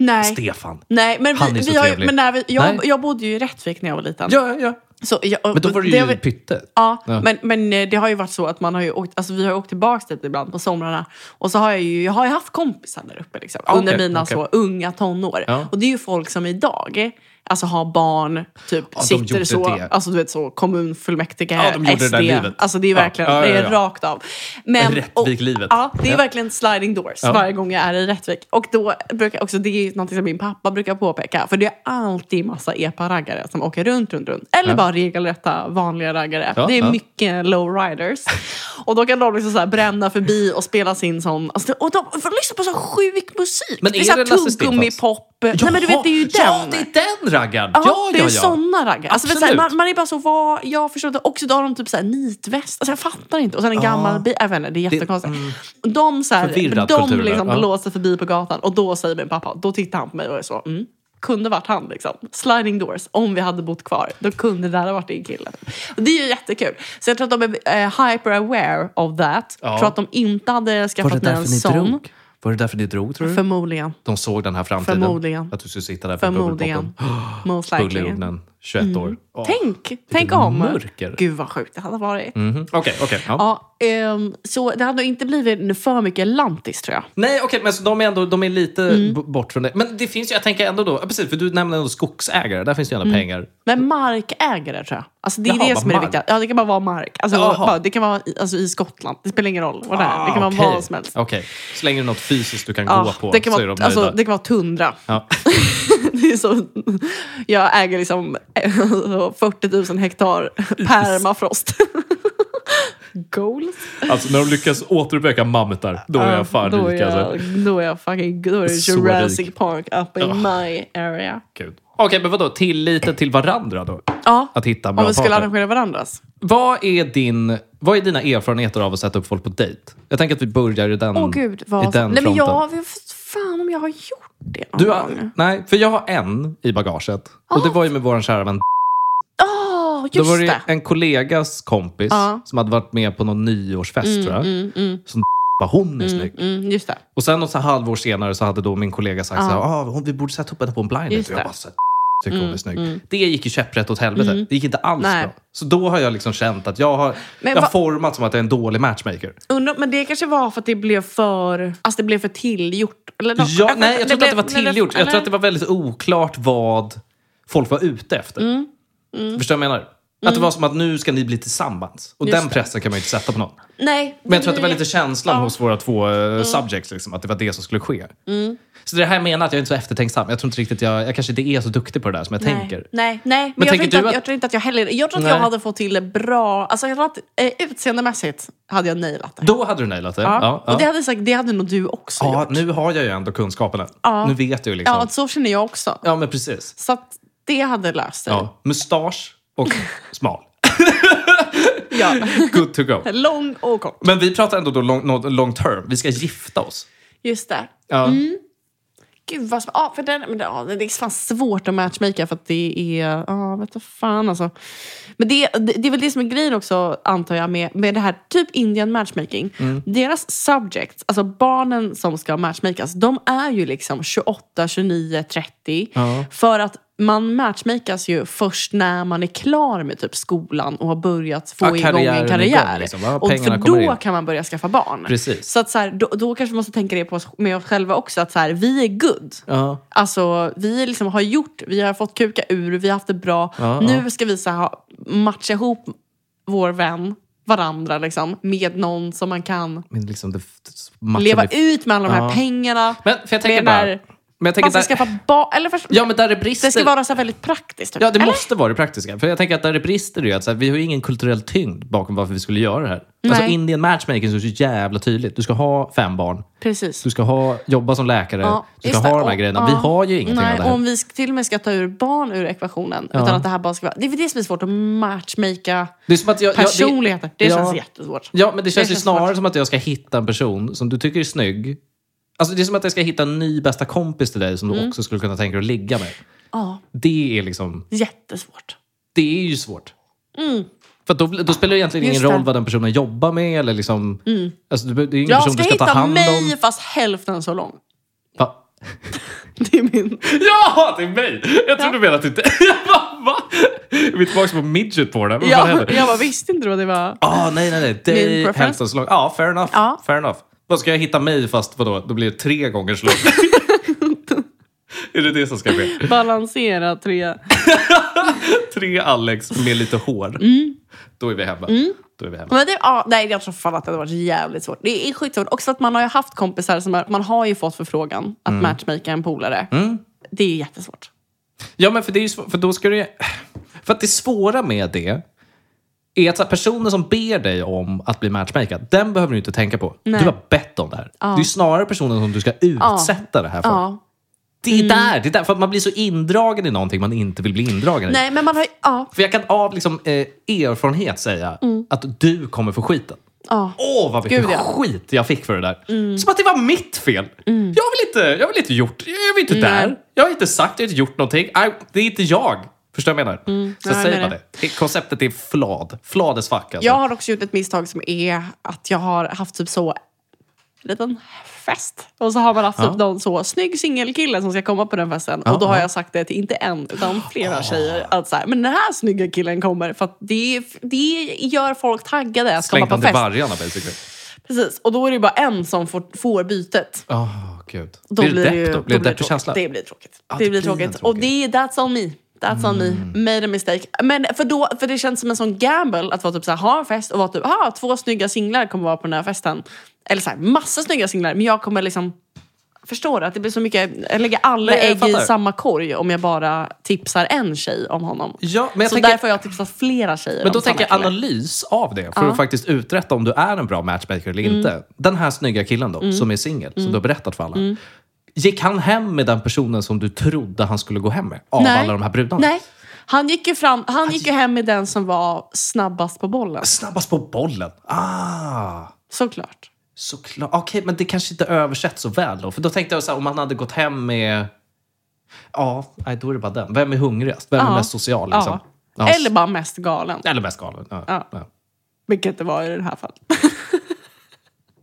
Speaker 2: Nej.
Speaker 1: Stefan.
Speaker 2: Nej, men,
Speaker 1: Han
Speaker 2: vi,
Speaker 1: är så
Speaker 2: vi har, ju-
Speaker 1: trevlig.
Speaker 2: men när vi, jag,
Speaker 1: Nej.
Speaker 2: jag bodde ju i Rättvik när jag var liten.
Speaker 1: Ja, ja.
Speaker 2: Så, jag-
Speaker 1: Men då var det ju
Speaker 2: har vi-
Speaker 1: pytte.
Speaker 2: Ja,
Speaker 1: Ja.
Speaker 2: Men, men eh, det har ju varit så att man har ju åkt, alltså vi har ju åkt tillbaka dit ibland på somrarna. Och så har jag ju, jag har ju haft kompisar där uppe liksom,
Speaker 1: Ah,
Speaker 2: under
Speaker 1: okej,
Speaker 2: mina
Speaker 1: okej.
Speaker 2: så unga tonår.
Speaker 1: Ja.
Speaker 2: Och det är ju folk som idag Alltså har barn, typ
Speaker 1: de
Speaker 2: sitter
Speaker 1: gjorde
Speaker 2: så,
Speaker 1: det.
Speaker 2: alltså du vet så kommunfullmäktige,
Speaker 1: Ja, de gjorde det
Speaker 2: SD.
Speaker 1: där livet.
Speaker 2: Alltså det är
Speaker 1: Ja,
Speaker 2: verkligen,
Speaker 1: ja, ja,
Speaker 2: det är
Speaker 1: ja.
Speaker 2: rakt av. Men,
Speaker 1: Rättvik-livet.
Speaker 2: Ja, det är
Speaker 1: Ja.
Speaker 2: verkligen sliding doors
Speaker 1: Ja.
Speaker 2: varje gång jag är i Rättvik. Och då brukar jag också, det är ju någonting som min pappa brukar påpeka, för det är alltid massa epa-raggare som åker runt, runt, runt. Eller
Speaker 1: Ja.
Speaker 2: bara regelrätta vanliga raggare.
Speaker 1: Ja,
Speaker 2: det är
Speaker 1: ja.
Speaker 2: mycket lowriders. Och då kan de liksom så här bränna förbi och spela sin sån... Alltså, och de får lyssna på så sjuk musik.
Speaker 1: Men
Speaker 2: det är
Speaker 1: är
Speaker 2: så här
Speaker 1: det Lasse
Speaker 2: tuggummipop. Nej men du vet, det är ju
Speaker 1: ja,
Speaker 2: den.
Speaker 1: det är den raggaren!
Speaker 2: Ja,
Speaker 1: Ja, ja,
Speaker 2: det är
Speaker 1: ja.
Speaker 2: såna raggare. Alltså, vet du, så här,
Speaker 1: Absolut.
Speaker 2: man, man är bara så, vad, jag förstår inte. Också då har de typ så här, nitväst. Alltså, jag fattar inte. Och sen en gammal bil. Jag vet inte, det är jättekonstigt. De, så här,
Speaker 1: mm. Förvirrad
Speaker 2: de
Speaker 1: kultur där,
Speaker 2: liksom
Speaker 1: ja.
Speaker 2: blåser förbi på gatan och då säger min pappa, då tittar han på mig och är så, mm. Kunde varit han liksom. Sliding doors. Om vi hade bott kvar, då kunde det där ha varit din kille. Och det är ju jättekul. Så jag tror att de är eh, hyper aware of that.
Speaker 1: Ja.
Speaker 2: Tror att de inte hade
Speaker 1: Var det
Speaker 2: skaffat mig en
Speaker 1: därför ni
Speaker 2: sån.
Speaker 1: drog? Var det därför ni drog, tror du?
Speaker 2: Förmodligen.
Speaker 1: De såg den här framtiden?
Speaker 2: Förmodligen.
Speaker 1: Att du skulle sitta där på
Speaker 2: Förmodligen. Mm.
Speaker 1: bubbelbotten?
Speaker 2: Most
Speaker 1: Bubbel i
Speaker 2: likely.
Speaker 1: ugnen, 21 år. Åh.
Speaker 2: Tänk, tänk om.
Speaker 1: mörker.
Speaker 2: Gud vad sjukt det hade varit.
Speaker 1: Mhm. Okej, okej. ja.
Speaker 2: Ja, ehm, så det hade nog inte blivit för mycket lantis tror jag.
Speaker 1: Nej, okej, men så de är ändå de är lite
Speaker 2: Mm.
Speaker 1: b- bort från det. Men det finns ju, jag tänker ändå då, ja, precis, för du nämnde ändå skogsägare, där finns det ju
Speaker 2: Mm.
Speaker 1: ändå pengar.
Speaker 2: Men markägare tror jag. Alltså, det är
Speaker 1: Jaha,
Speaker 2: det som är det
Speaker 1: bara
Speaker 2: viktiga. Ja, det kan bara vara mark. Alltså,
Speaker 1: Jaha.
Speaker 2: bara, det kan vara i, alltså, i Skottland. Det spelar ingen roll vad det är. Det kan vara
Speaker 1: Ah, okej.
Speaker 2: vad som helst.
Speaker 1: Okej, så länge det är något fysiskt du kan gå
Speaker 2: Ja,
Speaker 1: på
Speaker 2: det, kan
Speaker 1: så är de
Speaker 2: vara,
Speaker 1: nöjda.
Speaker 2: alltså, det kan vara tundra.
Speaker 1: Ja.
Speaker 2: Det är så, jag äger liksom alltså, 40 000 hektar permafrost. Goals.
Speaker 1: Alltså när de lyckas återuppväcka mammutar, då är
Speaker 2: Ja,
Speaker 1: jag fan
Speaker 2: då
Speaker 1: rik
Speaker 2: är
Speaker 1: alltså.
Speaker 2: jag, Då är jag fucking då är det
Speaker 1: Så rik.
Speaker 2: Jurassic Park up in
Speaker 1: Ja.
Speaker 2: my area.
Speaker 1: Gud. Okej, men vadå? Tilliten till varandra då?
Speaker 2: Ja,
Speaker 1: Att hitta en bra
Speaker 2: om vi skulle
Speaker 1: partner.
Speaker 2: arrangera varandras.
Speaker 1: Vad, är din, vad är dina erfarenheter av att sätta upp folk på dejt? Jag tänker att vi börjar i den,
Speaker 2: Åh gud, vad...
Speaker 1: Mm. i den
Speaker 2: Nej men
Speaker 1: fronten.
Speaker 2: jag Mm. vet fan om jag har gjort det någon
Speaker 1: Du
Speaker 2: gång.
Speaker 1: har, nej, för jag har en i bagaget. Och det var ju med vår kära vän
Speaker 2: Ja,
Speaker 1: Då
Speaker 2: Ah. just
Speaker 1: var
Speaker 2: det.
Speaker 1: det en kollegas kompis
Speaker 2: Ja.
Speaker 1: som hade varit med på någon nyårsfest tror jag.
Speaker 2: Mm, mm,
Speaker 1: Som bara hon är snygg.
Speaker 2: mm, just det.
Speaker 1: Och sen något så här halvår senare så hade då min kollega sagt
Speaker 2: Ja.
Speaker 1: så här, ah, hon, vi borde sätta upp henne på en blind
Speaker 2: Just
Speaker 1: date. Och
Speaker 2: det.
Speaker 1: jag bara, så här, tycker hon är snygg.
Speaker 2: mm.
Speaker 1: Det gick ju käpprätt åt helvete. Det gick inte alls
Speaker 2: Nej.
Speaker 1: bra. Så då har jag liksom känt att jag har,
Speaker 2: Men
Speaker 1: jag har
Speaker 2: vad-
Speaker 1: format som att jag är en dålig matchmaker.
Speaker 2: Undrar, men det kanske var för att det blev för, alltså det blev för tillgjort? Eller något.
Speaker 1: Ja, nej, jag tror inte att det var
Speaker 2: blev-
Speaker 1: tillgjort. Jag
Speaker 2: eller-
Speaker 1: tror att det var väldigt oklart vad folk var ute efter.
Speaker 2: Mm.
Speaker 1: Förstår du vad jag menar? Att det var som att nu ska ni bli tillsammans. Och
Speaker 2: Just
Speaker 1: den pressen kan man ju inte sätta på någon.
Speaker 2: Nej.
Speaker 1: Men jag tror att det var lite känslan
Speaker 2: Ja. Mm.
Speaker 1: hos våra två eh, subjects, liksom, att det var det som skulle ske. Så det är det här jag menar, att jag är inte så eftertänksam. Jag tror inte riktigt jag, jag kanske inte är så duktig på det där som jag
Speaker 2: Nej,
Speaker 1: tänker.
Speaker 2: Nej, nej. Men,
Speaker 1: Men
Speaker 2: jag,
Speaker 1: tänker
Speaker 2: tror inte
Speaker 1: du
Speaker 2: att,
Speaker 1: att-
Speaker 2: jag tror inte att jag heller... Jag tror att jag
Speaker 1: Nej.
Speaker 2: hade fått till det bra. Alltså jag tror att eh, utseendemässigt hade jag nailat det.
Speaker 1: Då hade du nailat det.
Speaker 2: ja.
Speaker 1: Ja, ja.
Speaker 2: Och det hade, säkert, det hade nog du också
Speaker 1: ja,
Speaker 2: gjort.
Speaker 1: nu har jag ju ändå kunskaperna.
Speaker 2: Ja.
Speaker 1: Nu vet jag ju liksom.
Speaker 2: Ja,
Speaker 1: Ja,
Speaker 2: så känner jag också.
Speaker 1: men precis.
Speaker 2: Så att det hade löst sig.
Speaker 1: Ja. Mustasch och smal.
Speaker 2: Ja.
Speaker 1: Good to go.
Speaker 2: Lång och kort.
Speaker 1: Men vi pratar ändå då long, nå- long term. Vi ska gifta oss.
Speaker 2: Just det.
Speaker 1: Ja.
Speaker 2: Mm. Gud vad sm- ja, för den, men, ja, Det är fan svårt att matchmaka för att det är... Ja, vet du fan alltså. Men det, det, det är väl det som är grejen också, antar jag, med, med det här typ Indian matchmaking.
Speaker 1: Mm.
Speaker 2: Deras subjects, alltså barnen som ska matchmakas, de är ju liksom 28, 29, 30.
Speaker 1: Ja.
Speaker 2: För att man matchmakas ju först när man är klar med typ skolan och har börjat få
Speaker 1: Ja,
Speaker 2: igång
Speaker 1: karriären är
Speaker 2: en
Speaker 1: igång,
Speaker 2: karriär.
Speaker 1: liksom. Ja,
Speaker 2: och för
Speaker 1: pengarna kommer
Speaker 2: då
Speaker 1: in.
Speaker 2: kan man börja skaffa barn.
Speaker 1: Precis.
Speaker 2: Så, att så här, då, då kanske vi måste tänka det på oss, med oss själva också, att så här, vi är good.
Speaker 1: Ja.
Speaker 2: Alltså, vi liksom har gjort, vi har fått kuka ur, vi har haft det bra.
Speaker 1: Ja,
Speaker 2: nu ska vi så här, matcha ihop vår vän, varandra, liksom, med någon som man kan
Speaker 1: Men liksom det, matchen
Speaker 2: leva
Speaker 1: är-
Speaker 2: ut med alla de här
Speaker 1: Ja.
Speaker 2: pengarna.
Speaker 1: Men för jag
Speaker 2: med
Speaker 1: tänker
Speaker 2: den här-
Speaker 1: där... Men jag
Speaker 2: man
Speaker 1: tänker
Speaker 2: ska
Speaker 1: där...
Speaker 2: skaffa barn. Eller först,
Speaker 1: Ja, men där det brister...
Speaker 2: det ska vara så här väldigt praktiskt. typ.
Speaker 1: Ja, det
Speaker 2: Eller?
Speaker 1: måste vara det praktiska. För jag tänker att där det brister är ju att så här, vi har ju ingen kulturell tyngd bakom varför vi skulle göra det här. Alltså
Speaker 2: Nej.
Speaker 1: Indian matchmaking så är det så jävla tydligt. Du ska ha fem barn,
Speaker 2: Precis.
Speaker 1: du ska ha, jobba som läkare,
Speaker 2: Ja,
Speaker 1: du ska
Speaker 2: just
Speaker 1: ha
Speaker 2: det.
Speaker 1: de här
Speaker 2: Och-
Speaker 1: grejerna.
Speaker 2: ja.
Speaker 1: Vi har ju ingenting
Speaker 2: Nej,
Speaker 1: av det här.
Speaker 2: Om vi sk- till och med ska ta ur barn ur ekvationen. Utan att det här bara ska vara, det är väl det som är svårt att matchmaka
Speaker 1: Det är som att jag, jag-
Speaker 2: personligheter. Det
Speaker 1: ja.
Speaker 2: känns jättesvårt.
Speaker 1: Ja, men det känns ju
Speaker 2: känns
Speaker 1: snarare
Speaker 2: svårt.
Speaker 1: som att jag ska hitta en person som du tycker är snygg. Alltså det är som att jag ska hitta en ny bästa kompis till dig som du också skulle kunna tänka dig att ligga med.
Speaker 2: Mm. Ja,
Speaker 1: Det är liksom,
Speaker 2: jättesvårt.
Speaker 1: det är ju svårt. För att då, då spelar det egentligen
Speaker 2: Mm. Just
Speaker 1: ingen
Speaker 2: det.
Speaker 1: roll vad den personen jobbar med eller liksom... Alltså, det det är ingen
Speaker 2: Jag
Speaker 1: person
Speaker 2: ska
Speaker 1: du ska ta
Speaker 2: hitta
Speaker 1: hand om.
Speaker 2: mig fast hälften så lång.
Speaker 1: Va?
Speaker 2: Det är min...
Speaker 1: Ja, det är mig! Jag trodde du menade att du inte... Jag bara, va? Vi är tillbaka på midget på det. Vad fan
Speaker 2: Jag,
Speaker 1: händer?
Speaker 2: jag bara visste inte då det var...
Speaker 1: Ah, nej, nej, nej. Det
Speaker 2: Min
Speaker 1: är
Speaker 2: preference.
Speaker 1: hälften så lång. Ja, fair enough.
Speaker 2: Ja.
Speaker 1: Fair enough. Vad ska jag hitta mig fast vadå? Då blir det tre gånger så långt. är det det som ska ske?
Speaker 2: Balansera tre...
Speaker 1: Tre Alex med lite hår.
Speaker 2: Mm.
Speaker 1: Då är vi hemma. Då är vi hemma.
Speaker 2: Men det, ja, nej, jag tror fan att det hade varit jävligt svårt. Det är skitsvårt. Också att man har ju haft kompisar som har, man har ju fått förfrågan att matchmaka en polare. Det är jättesvårt.
Speaker 1: Ja, men för, det är ju svå- för då ska du För att det svåra med det är att så här, personen som ber dig om att bli matchmaker, den behöver du inte tänka på.
Speaker 2: Nej.
Speaker 1: Du har bett om det här. Det är ju snarare personen som du ska utsätta det här för.
Speaker 2: Ja. Mm.
Speaker 1: Det är där, det är där. För att man blir så indragen i någonting man inte vill bli indragen i.
Speaker 2: Nej, men man har ju... Ja,
Speaker 1: För jag kan av liksom, eh, erfarenhet säga att du kommer få skiten.
Speaker 2: Mm. ja.
Speaker 1: Åh, vad mycket
Speaker 2: Gud, ja. Mm.
Speaker 1: skit jag fick för det där. Som att det var mitt fel. Jag vill inte, jag vill inte gjort, jag vill inte där. Jag har inte sagt, jag har inte gjort någonting. Nej, det är inte jag. Förstår vad jag menar? Så
Speaker 2: Mm. jag
Speaker 1: säger
Speaker 2: menar
Speaker 1: man det. det. Konceptet är flad. Flad as fuck alltså.
Speaker 2: Jag har också gjort ett misstag som är att jag har haft typ så en liten fest. Och så har man haft typ någon så snygg singelkille som ska komma på den festen. och då har jag sagt det till inte en utan flera tjejer. Att så här, men den här snygga killen kommer. För att det, det gör folk taggade att
Speaker 1: Slängt
Speaker 2: komma
Speaker 1: dem
Speaker 2: på
Speaker 1: till
Speaker 2: fest.
Speaker 1: vargarna basically.
Speaker 2: Precis. Och då är det bara en som får, får bytet.
Speaker 1: Åh, gud.
Speaker 2: Då
Speaker 1: blir det
Speaker 2: ju-
Speaker 1: depp då? Blir det deppig-känsla?
Speaker 2: Det blir tråkigt.
Speaker 1: Ja,
Speaker 2: det,
Speaker 1: det
Speaker 2: blir
Speaker 1: blir Mm. en
Speaker 2: tråkigt. Och det är that's on me. That's on me. Made a mistake. Men för, då, för det känns som en sån gamble att vara typ så här, ha en fest och vara typ, ha två snygga singlar kommer vara på den här festen. Eller så här, massa snygga singlar. Men jag kommer liksom, förstår du? Att det blir så mycket, jag lägger alla
Speaker 1: Men jag
Speaker 2: ägg i
Speaker 1: fattar.
Speaker 2: samma korg om jag bara tipsar en tjej om honom.
Speaker 1: Ja, men jag
Speaker 2: så
Speaker 1: tänker-
Speaker 2: därför har jag tipsat flera tjejer
Speaker 1: Men då
Speaker 2: om samma
Speaker 1: tänker jag
Speaker 2: kille.
Speaker 1: analys av det för att faktiskt uträtta om du är en bra matchmaker eller
Speaker 2: Mm.
Speaker 1: inte. Den här snygga killen då, som är singel, som du har berättat för alla. Gick han hem med den personen som du trodde han skulle gå hem med? Av
Speaker 2: Nej.
Speaker 1: alla de här brudarna? Alltså-
Speaker 2: Nej. Han gick ju, fram, han gick ju hem med den som var snabbast på bollen.
Speaker 1: Snabbast på bollen! Ah!
Speaker 2: Såklart.
Speaker 1: Såklart. Okej, men det kanske inte översätts så väl då. För då tänkte jag så här, om han hade gått hem med... Ja, nej, då är det bara den. Vem är hungrigast? Vem är
Speaker 2: Ja.
Speaker 1: mest social? Liksom?
Speaker 2: Ja. Eller bara mest galen.
Speaker 1: Eller mest galen. Ja.
Speaker 2: Ja.
Speaker 1: Ja.
Speaker 2: Vilket det var i det här fallet.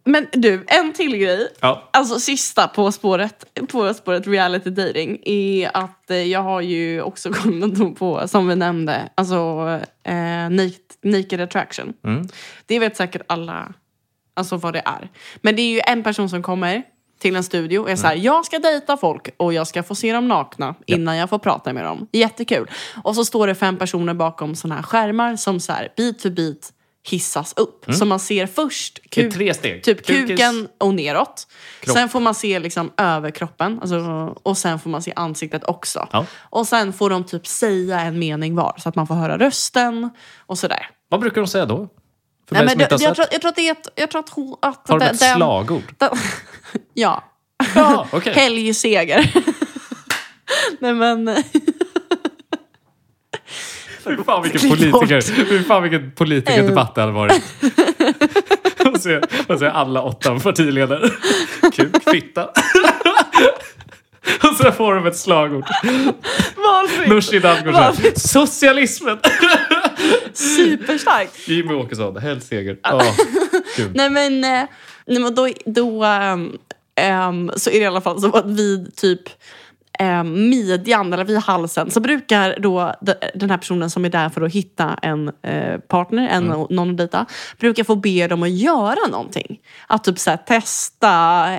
Speaker 2: Men du, en till grej.
Speaker 1: Ja.
Speaker 2: Alltså sista på spåret, på spåret reality dating är att eh, jag har ju också kommit på, som vi nämnde, alltså eh, naked, naked attraction. Det vet säkert alla alltså vad det är. Men det är ju en person som kommer till en studio och är så här, jag ska dejta folk och jag ska få se dem nakna innan jag får prata med dem. Jättekul. Och så står det fem personer bakom såna här skärmar som så här, bit för bit hissas upp. Så man ser först
Speaker 1: I
Speaker 2: kuk,
Speaker 1: tre steg.
Speaker 2: typ
Speaker 1: Kukis.
Speaker 2: kuken och neråt.
Speaker 1: Kropp.
Speaker 2: Sen får man se liksom överkroppen alltså, och sen får man se ansiktet också.
Speaker 1: Ja.
Speaker 2: Och sen får de typ säga en mening var så att man får höra rösten och sådär.
Speaker 1: Vad brukar de säga då? För mig
Speaker 2: Nej, men
Speaker 1: som
Speaker 2: det,
Speaker 1: inte har sett.
Speaker 2: jag, tror, jag tror att det är ett, jag tror att hon, att
Speaker 1: Har de
Speaker 2: den-
Speaker 1: ett
Speaker 2: den-
Speaker 1: slagord?
Speaker 2: Den- ja.
Speaker 1: Ja, okej.
Speaker 2: Helgseger. Nej men,
Speaker 1: Fy fan vilken
Speaker 2: Klipp bort.
Speaker 1: politiker, fy fan vilken politikerdebatt det hade varit. Och så och så är alla åtta partiledare. Kuk, fitta. Och så får de ett slagord.
Speaker 2: valfritt.
Speaker 1: Nooshi Dadgostar. Socialismen.
Speaker 2: Superstarkt.
Speaker 1: Jimmy Åkesson. Hellseger. Oh, gud.
Speaker 2: Nej men, eh, nej, men då, då ehm, ehm, så är det i alla fall så att vid typ ehm, midjan eller vid halsen så brukar då de- den här personen som är där för att hitta en eh, partner, en, någon att dejta, brukar få be dem att göra någonting. Att typ så här, testa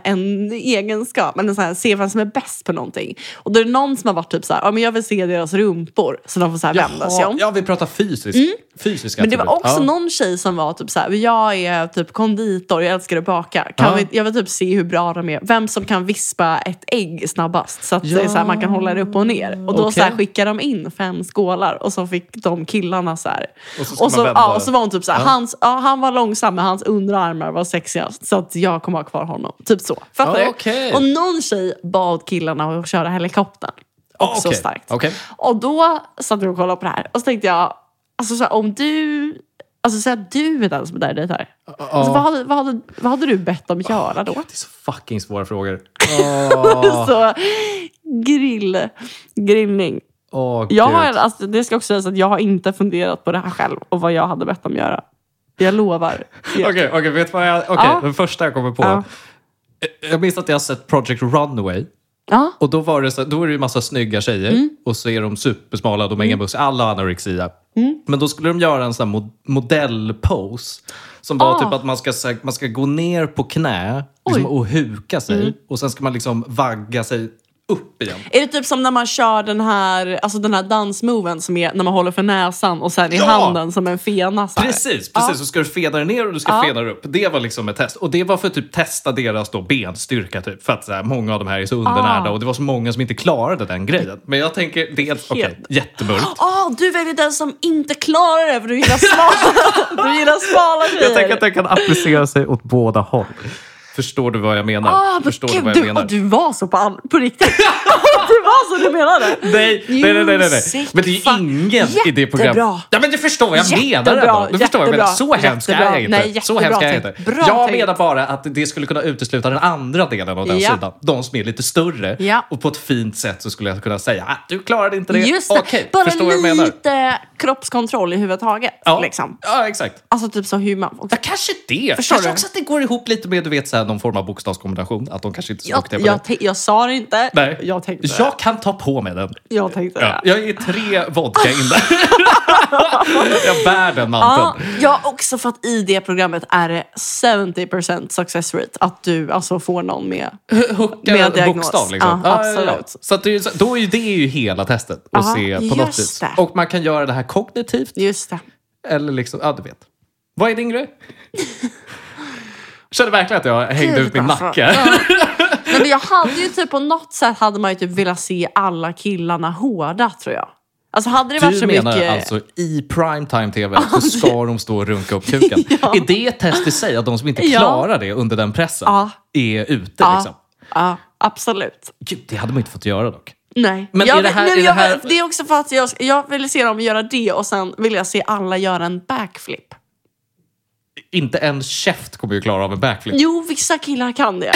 Speaker 2: en egenskap, eller så här, se vem som är bäst på någonting. Och då är det någon som har varit typ så här, ja men jag vill se deras rumpor. Så de får så här vända sig om. Mm.
Speaker 1: Ja, vi pratar fysisk, fysiska
Speaker 2: Men det var
Speaker 1: attribut.
Speaker 2: också
Speaker 1: Ja.
Speaker 2: någon tjej som var typ så här, jag är typ konditor, jag älskar att baka. Kan
Speaker 1: Ja.
Speaker 2: vi, jag vill typ se hur bra de är. Vem som kan vispa ett ägg snabbast så att det är så här, man kan hålla det upp och ner. Och då så här,
Speaker 1: Okej.
Speaker 2: skickade de in fem skålar och så fick de killarna så här.
Speaker 1: Och så ska man vända.
Speaker 2: ja, och så var hon typ så här, hans, ja, han var långsam men hans underarmar var sexigast så att jag kommer ha kvar honom. Typ så. Fattar du?
Speaker 1: Okej.
Speaker 2: Och någon tjej bad killarna att köra helikoptern.
Speaker 1: Ah,
Speaker 2: Också
Speaker 1: okej.
Speaker 2: starkt.
Speaker 1: Okej.
Speaker 2: Och då satt jag och kollade på det här och så tänkte jag, alltså så här, om du, alltså så här, du är den som är där och dejtar. Alltså, vad, hade, vad, hade, vad hade du bett
Speaker 1: Ah,
Speaker 2: dem göra då?
Speaker 1: Det är så fucking svåra frågor.
Speaker 2: Så grill, grillning.
Speaker 1: Åh, gud.
Speaker 2: Jag har, alltså, det ska också sägas att jag har inte funderat på det här själv och vad jag hade bett dem göra. Jag lovar.
Speaker 1: Okej, okej, vet du vad jag... Okej,
Speaker 2: Ja.
Speaker 1: den första jag kommer på.
Speaker 2: Ja.
Speaker 1: Jag minns att jag har sett Project Runway.
Speaker 2: Ja.
Speaker 1: Och då, var det så, då är det ju massa snygga tjejer
Speaker 2: Mm.
Speaker 1: och så är de supersmala, de har inga buxor, alla har anorexia.
Speaker 2: Mm.
Speaker 1: Men då skulle de göra en sån här mod- modellpose som var
Speaker 2: Ah.
Speaker 1: typ att man ska, så här- man ska gå ner på knä liksom,
Speaker 2: Oj. Mm.
Speaker 1: och huka sig och sen ska man liksom vagga sig upp igen.
Speaker 2: Är det typ som när man kör den här, alltså den här dansmoven som är när man håller för näsan och sen i
Speaker 1: Ja!
Speaker 2: handen som en fena? Så här.
Speaker 1: Precis, precis. Så ska du feda dig ner och du ska feda dig upp. Det var liksom ett test. Och det var för att typ testa deras då benstyrka. Typ, för att så här, många av de här är så undernärda och det var så många som inte klarade den grejen. Men jag tänker dels, okej,
Speaker 2: Helt-
Speaker 1: jättemörkt.
Speaker 2: Ah, du väljer den som inte klarar det för du gillar smala, du gillar smala
Speaker 1: Jag tänker
Speaker 2: tjejer.
Speaker 1: att den kan applicera sig åt båda håll. Förstår du vad jag menar?
Speaker 2: Ah, men
Speaker 1: Förstår du
Speaker 2: gud,
Speaker 1: vad jag
Speaker 2: du,
Speaker 1: menar?
Speaker 2: och du var så på, all, på riktigt. det var så du menade.
Speaker 1: Nej, nej, nej, nej, nej, nej.
Speaker 2: Music,
Speaker 1: Men det är ju
Speaker 2: fuck.
Speaker 1: ingen i det
Speaker 2: Jättebra.
Speaker 1: programmet. Ja, men du förstår vad jag menar.
Speaker 2: Jättebra,
Speaker 1: ändå. Du förstår vad jag menar. Så
Speaker 2: jättebra,
Speaker 1: hemsk är
Speaker 2: jättebra.
Speaker 1: jag inte.
Speaker 2: Nej,
Speaker 1: så hemsk är jag
Speaker 2: jättebra
Speaker 1: inte.
Speaker 2: tänkt. Bra
Speaker 1: jag
Speaker 2: tänkt.
Speaker 1: menar bara att det skulle kunna utesluta den andra delen av den
Speaker 2: Ja.
Speaker 1: sidan. De som är lite större.
Speaker 2: Ja.
Speaker 1: Och på ett fint sätt så skulle jag kunna säga att du klarade inte det.
Speaker 2: Just det.
Speaker 1: Okej,
Speaker 2: Bara
Speaker 1: förstår vad jag menar.
Speaker 2: lite kroppskontroll i huvud taget.
Speaker 1: Ja,
Speaker 2: Liksom.
Speaker 1: ja exakt.
Speaker 2: Alltså typ så hur man...
Speaker 1: Ja, kanske det.
Speaker 2: Förstår
Speaker 1: kanske
Speaker 2: du?
Speaker 1: också att det går ihop lite med du vet, så här, någon form av bokstavskombination. Att de kanske inte är så
Speaker 2: Jag,
Speaker 1: duktiga på det.
Speaker 2: jag, te- jag sa det inte.
Speaker 1: Nej.
Speaker 2: Jag tänkte det.
Speaker 1: Jag kan ta på mig den.
Speaker 2: Jag tänkte
Speaker 1: Ja,
Speaker 2: det.
Speaker 1: jag är tre vodka in där. jag bär den
Speaker 2: Ja,
Speaker 1: manteln.
Speaker 2: jag har också för att i det programmet är det 70% success rate. Att du alltså får någon med.
Speaker 1: Hucka
Speaker 2: Med diagnos.
Speaker 1: bokstav liksom.
Speaker 2: Ja,
Speaker 1: Ja, ja, ja.
Speaker 2: absolut.
Speaker 1: Så, att det, är ju- så- då är ju det är ju hela testet. Att
Speaker 2: Ja,
Speaker 1: se på något
Speaker 2: just
Speaker 1: vis.
Speaker 2: det.
Speaker 1: Och man kan göra det här kognitivt.
Speaker 2: Just det.
Speaker 1: Eller liksom, ja du vet. Vad är din grej? Jag kände verkligen att jag hängde
Speaker 2: Gud,
Speaker 1: ut min
Speaker 2: alltså.
Speaker 1: nacke.
Speaker 2: Nej, men jag hade ju typ på något sätt hade man ju typ velat se alla killarna hårda tror jag. Alltså hade det varit
Speaker 1: Du
Speaker 2: så
Speaker 1: menar
Speaker 2: mycket...
Speaker 1: alltså i primetime tv så ska de stå och runka upp kuken.
Speaker 2: Ja.
Speaker 1: Är det ett test i sig att de som inte
Speaker 2: Ja.
Speaker 1: klarar det under den pressen
Speaker 2: Ja.
Speaker 1: är ute?
Speaker 2: Ja.
Speaker 1: Liksom?
Speaker 2: Ja, absolut.
Speaker 1: Gud, det hade man inte fått göra dock.
Speaker 2: Nej.
Speaker 1: Men
Speaker 2: jag,
Speaker 1: är det här-
Speaker 2: nej,
Speaker 1: är det
Speaker 2: jag,
Speaker 1: här-
Speaker 2: det är också för att jag, jag vill se dem göra det och sen vill jag se alla göra en backflip.
Speaker 1: Inte en käft kommer ju klara av en backflip.
Speaker 2: Jo, vissa killar kan det.